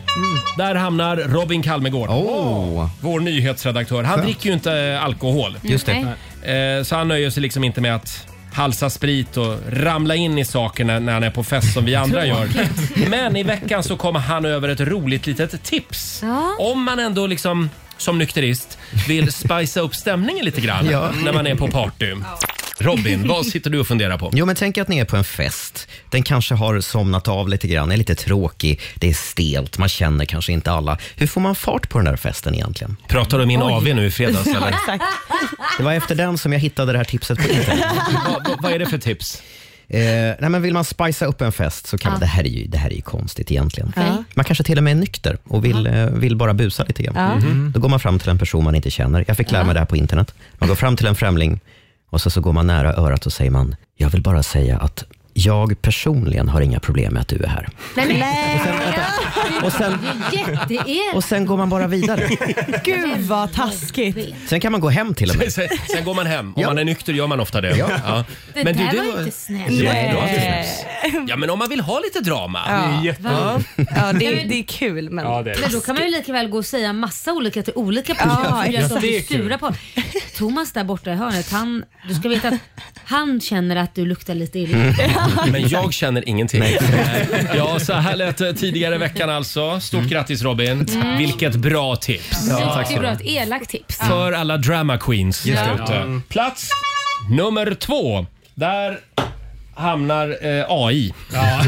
A: Där hamnar Robin Kalmegård.
C: Oh.
A: Vår nyhetsredaktör. Han
C: Skönt. Mm,
A: dricker ju inte eh, alkohol.
C: Just det.
A: Eh, Så han nöjer sig liksom inte med att halsa sprit och ramla in i saker när, när han är på fest som vi andra gör. Men i veckan så kom han över ett roligt litet tips. Om man ändå liksom som nykterist vill spicea upp stämningen lite grann
C: Ja.
A: när man är på party. Robin, vad sitter du och funderar på?
C: Jo, men tänk att ni är på en fest. Den kanske har somnat av lite grann, är lite tråkig, det är stelt, man känner kanske inte alla. Hur får man fart på den där festen egentligen?
A: Pratar du min AV nu i fredags eller?
C: Det var efter den som jag hittade det här tipset på internet.
A: vad, vad- vad är det för tips?
C: Eh, nej, men vill man spicea upp en fest så kan
A: Ja.
C: man, det, här är ju, det här är ju konstigt egentligen.
A: Ja.
C: Man kanske till och med är nykter och vill, eh, vill bara busa lite grann. Mm-hmm.
A: Ja. Mhm.
C: Då går man fram till en person man inte känner. Jag fick lära mig det här på internet. Man går fram till en främling och så, så går man nära örat och säger man, jag vill bara säga att jag personligen har inga problem med att du är här.
B: Nej, men. Nej.
C: Och sen, och sen går man bara vidare.
J: Gud vad taskigt.
C: Sen kan man gå hem till och med.
A: Sen, sen går man hem. Om man är nykter gör man ofta det.
C: Ja.
B: Det
A: Men
B: där
A: du,
B: var inte snällt.
A: Nej,
B: Nej.
A: det var inte snällt. Ja, men om man vill ha lite drama.
J: Ja. Det är
B: Va?
J: Ja, det, det är kul men...
A: Ja, det är
B: Men då kan man ju lika väl gå och säga massa olika till olika personer.
J: exakt.
B: Ja, som
J: Det
B: blir
J: är kul.
B: sura på. Thomas där borta i hörnet, han, du ska veta att han känner att du luktar lite illa.
A: Mm. Men jag känner ingenting. Ja, så här lät det tidigare i veckan alltså. Stort grattis Robin.
B: Mm.
A: Vilket bra tips.
B: det är bra, ett elakt tips.
A: För alla drama queens
B: Just
A: där
B: det.
A: ute.
B: Ja.
A: Plats nummer två. Där hamnar eh, AI. Ja,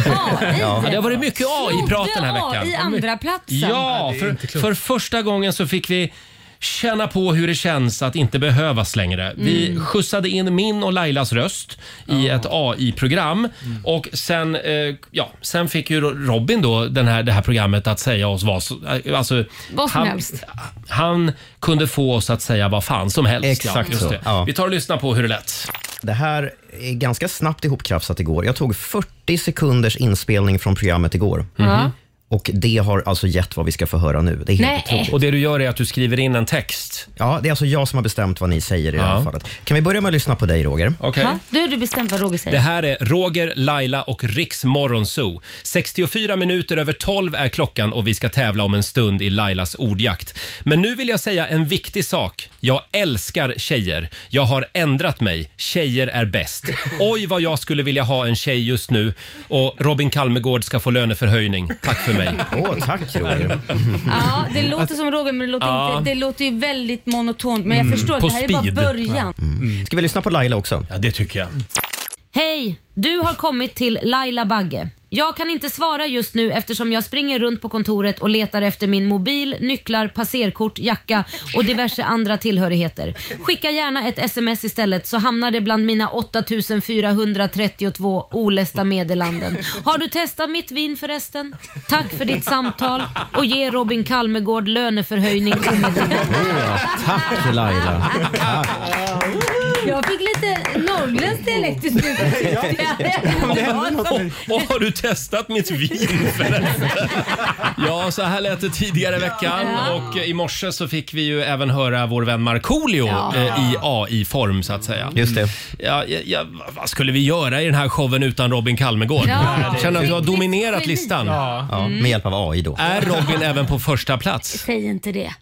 A: det har varit mycket AI-prat den här veckan.
B: i andra platsen.
A: Ja, för, för första gången så fick vi känna på hur det känns att inte behövas längre. Vi
B: Mm.
A: skjutsade in min och Lailas röst i ett AI-program
B: Mm.
A: och sen, eh, ja, sen fick ju Robin då den här, det här programmet att säga oss vad, så- eh, alltså,
B: Vad som
A: han,
B: helst.
A: Han kunde få oss att säga vad fan som helst.
C: Exakt
A: just
C: så,
A: det.
C: ja.
A: Vi tar och lyssnar på hur det lät.
C: Det här är ganska snabbt ihopkrafsat igår. Jag tog 40 sekunders inspelning från programmet igår.
A: Ja.
C: Och det har alltså gett vad vi ska få höra nu. Det är helt
A: Nej.
C: otroligt.
A: Och det du gör är att du skriver in en text?
C: Ja, det är alltså jag som har bestämt vad ni säger i det här fallet. Kan vi börja med att lyssna på dig Roger?
A: Okej.
B: Ha? Du har du bestämt vad Roger säger.
A: Det här är Roger, Laila och Riks Morgonzoo. 64 minuter över 12 är klockan och vi ska tävla om en stund i Lailas ordjakt. Men nu vill jag säga en viktig sak. Jag älskar tjejer. Jag har ändrat mig. Tjejer är bäst. Oj, vad jag skulle vilja ha en tjej just nu. Och Robin Kalmegård ska få löneförhöjning. Tack för mig.
C: Åh, tack Roger.
B: Ja, det låter som Roger men det låter,
A: Ja. Mm.
B: inte, det låter ju väldigt monotont. Men jag förstår att
C: På
B: det här är
C: speed.
B: bara början.
C: Mm. Ska vi lyssna på Laila också?
A: Ja, det tycker jag.
B: Hej! Du har kommit till Laila Bagge. Jag kan inte svara just nu eftersom jag springer runt på kontoret och letar efter min mobil, nycklar, passerkort, jacka och diverse andra tillhörigheter. Skicka gärna ett sms istället så hamnar det bland mina 8432 olästa meddelanden. Har du testat mitt vin förresten? Tack för ditt samtal och ge Robin Kalmegård löneförhöjning omedelbart.
C: Tack Laila.
B: Jag fick lite norrländsk dialekt i slutet.
A: Och har du testat mitt vin förresten? Ja, så här lät det tidigare i veckan
B: Ja.
A: och eh, i morse så fick vi ju även höra vår vän Markoolio
B: Ja.
A: eh, i AI-form så att säga. Just det. Ja, ja, ja, vad skulle vi göra i den här showen utan Robin Kalmegård?
B: Ja.
A: Känner att du har
B: Riktigt
A: dominerat
B: geni.
A: listan.
B: Ja. Ja, Mm.
C: med hjälp av AI då.
A: Är Robin även på första plats?
B: Säg inte det.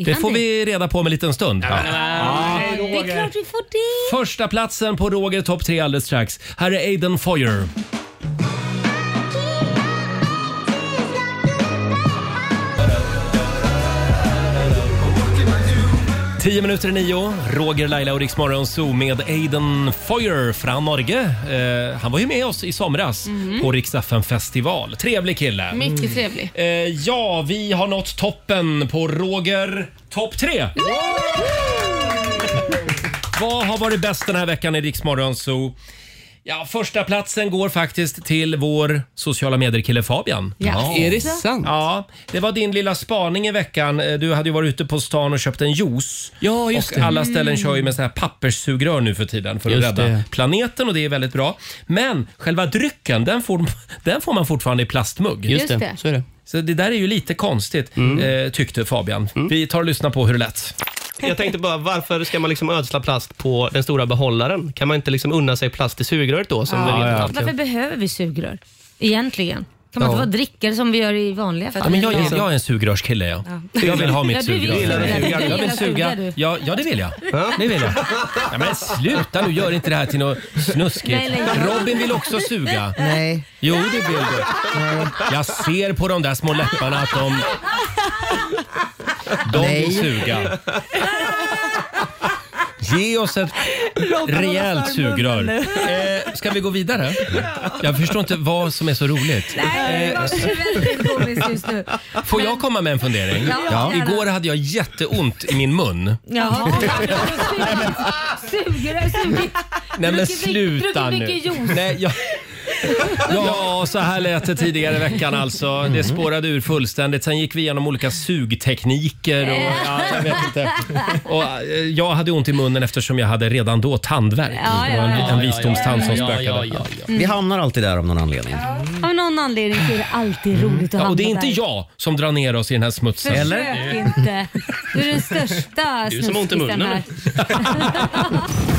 B: Är
A: Det
B: han
A: får vi reda på om en liten stund. Ah.
B: Det är klart vi får det.
A: Första platsen på Roger topp 3 alldeles strax. Här är Aiden Foyer. Tio minuter i nio, Roger, Laila och Riksmorgon Zoo med Aiden Foyer från Norge. Eh, han var ju med oss i somras
G: Mhm.
A: på Rix FM festival. Trevlig kille.
G: Mycket trevlig.
A: Eh, ja, vi har nått toppen på Roger topp tre. Vad har varit bäst den här veckan i Riksmorgon Zoo? Ja, första platsen går faktiskt till vår sociala medier-kille Fabian.
M: Ja. Ja. Är det sant?
A: Ja, det var din lilla spaning i veckan. Eh, Du hade ju varit ute på stan och köpt en juice. Ja,
M: just
A: och
M: det.
A: alla ställen
M: Mm.
A: kör ju med såna här papperssugrör nu för tiden för att
M: Just
A: rädda
M: det.
A: planeten och det är väldigt bra. Men själva drycken, den får, den får man fortfarande i plastmugg.
M: Just det, Just det. så är det. Mm.
A: Så det där är ju lite konstigt, eh, tyckte Fabian. Vi tar och lyssnar på hur det lät.
M: Jag tänkte bara, varför ska man liksom ödsla plast på den stora behållaren? Kan man inte liksom unna sig plast i sugröret då? Som vi vet att allt
B: Varför behöver vi sugrör egentligen? Kan man
A: Ja.
B: inte bara dricka som vi gör i vanliga fall?
A: Ja, men jag, jag, jag är en sugrörskille. Ja.
B: Ja.
A: Jag vill ha
B: Ja,
A: mitt
B: du vill
A: sugrör.
B: suga. Du gillar
A: Jag vill
B: att suga,
A: suga.
B: du.
A: Ja, ja, det vill jag. Det vill jag. Ja, men sluta nu, gör inte det här till något snuskigt.
B: Nej, nej, jag-
A: Robin vill också suga.
B: Nej.
A: Jo, det vill du. Jag ser på de där små läpparna att de... De
C: Nej.
A: vill suga. Ge oss ett rejält sugrör. Eh, ska vi gå vidare? Jag förstår inte vad som är så roligt.
B: Nej,
A: Eh,
B: jag är väldigt komisk just nu.
A: Får jag komma med en fundering?
B: Ja, Ja. gärna.
A: Igår hade jag jätteont i min mun.
B: Jaha. Sugrör, sugrör.
A: Nej men
B: Druckit mycket-
A: sluta
B: druckit
A: nu.
B: mycket juice.
A: Nej, jag... Ja, så här lät det tidigare i veckan alltså. Det spårade ur fullständigt. Sen gick vi igenom olika sugtekniker och
E: Eh.
B: Eh.
A: ja, jag vet inte. Och, eh, jag hade ont i munnen eftersom jag hade redan då tandvärk.
B: Ja,
A: Det var en,
B: ja, ja.
A: en visdomstand som
C: Ja, ja,
A: spökade.
C: ja, ja,
B: ja. Vi
A: hamnar alltid där av någon anledning.
B: Av någon anledning så är det alltid roligt att
A: Mm. Ja, och det är
B: hamna
A: inte
B: där.
A: jag som drar ner oss i den här smutsen.
B: Försök inte. Du är den största
A: Du som har ont i
B: snuskisen
A: munnen.
B: här.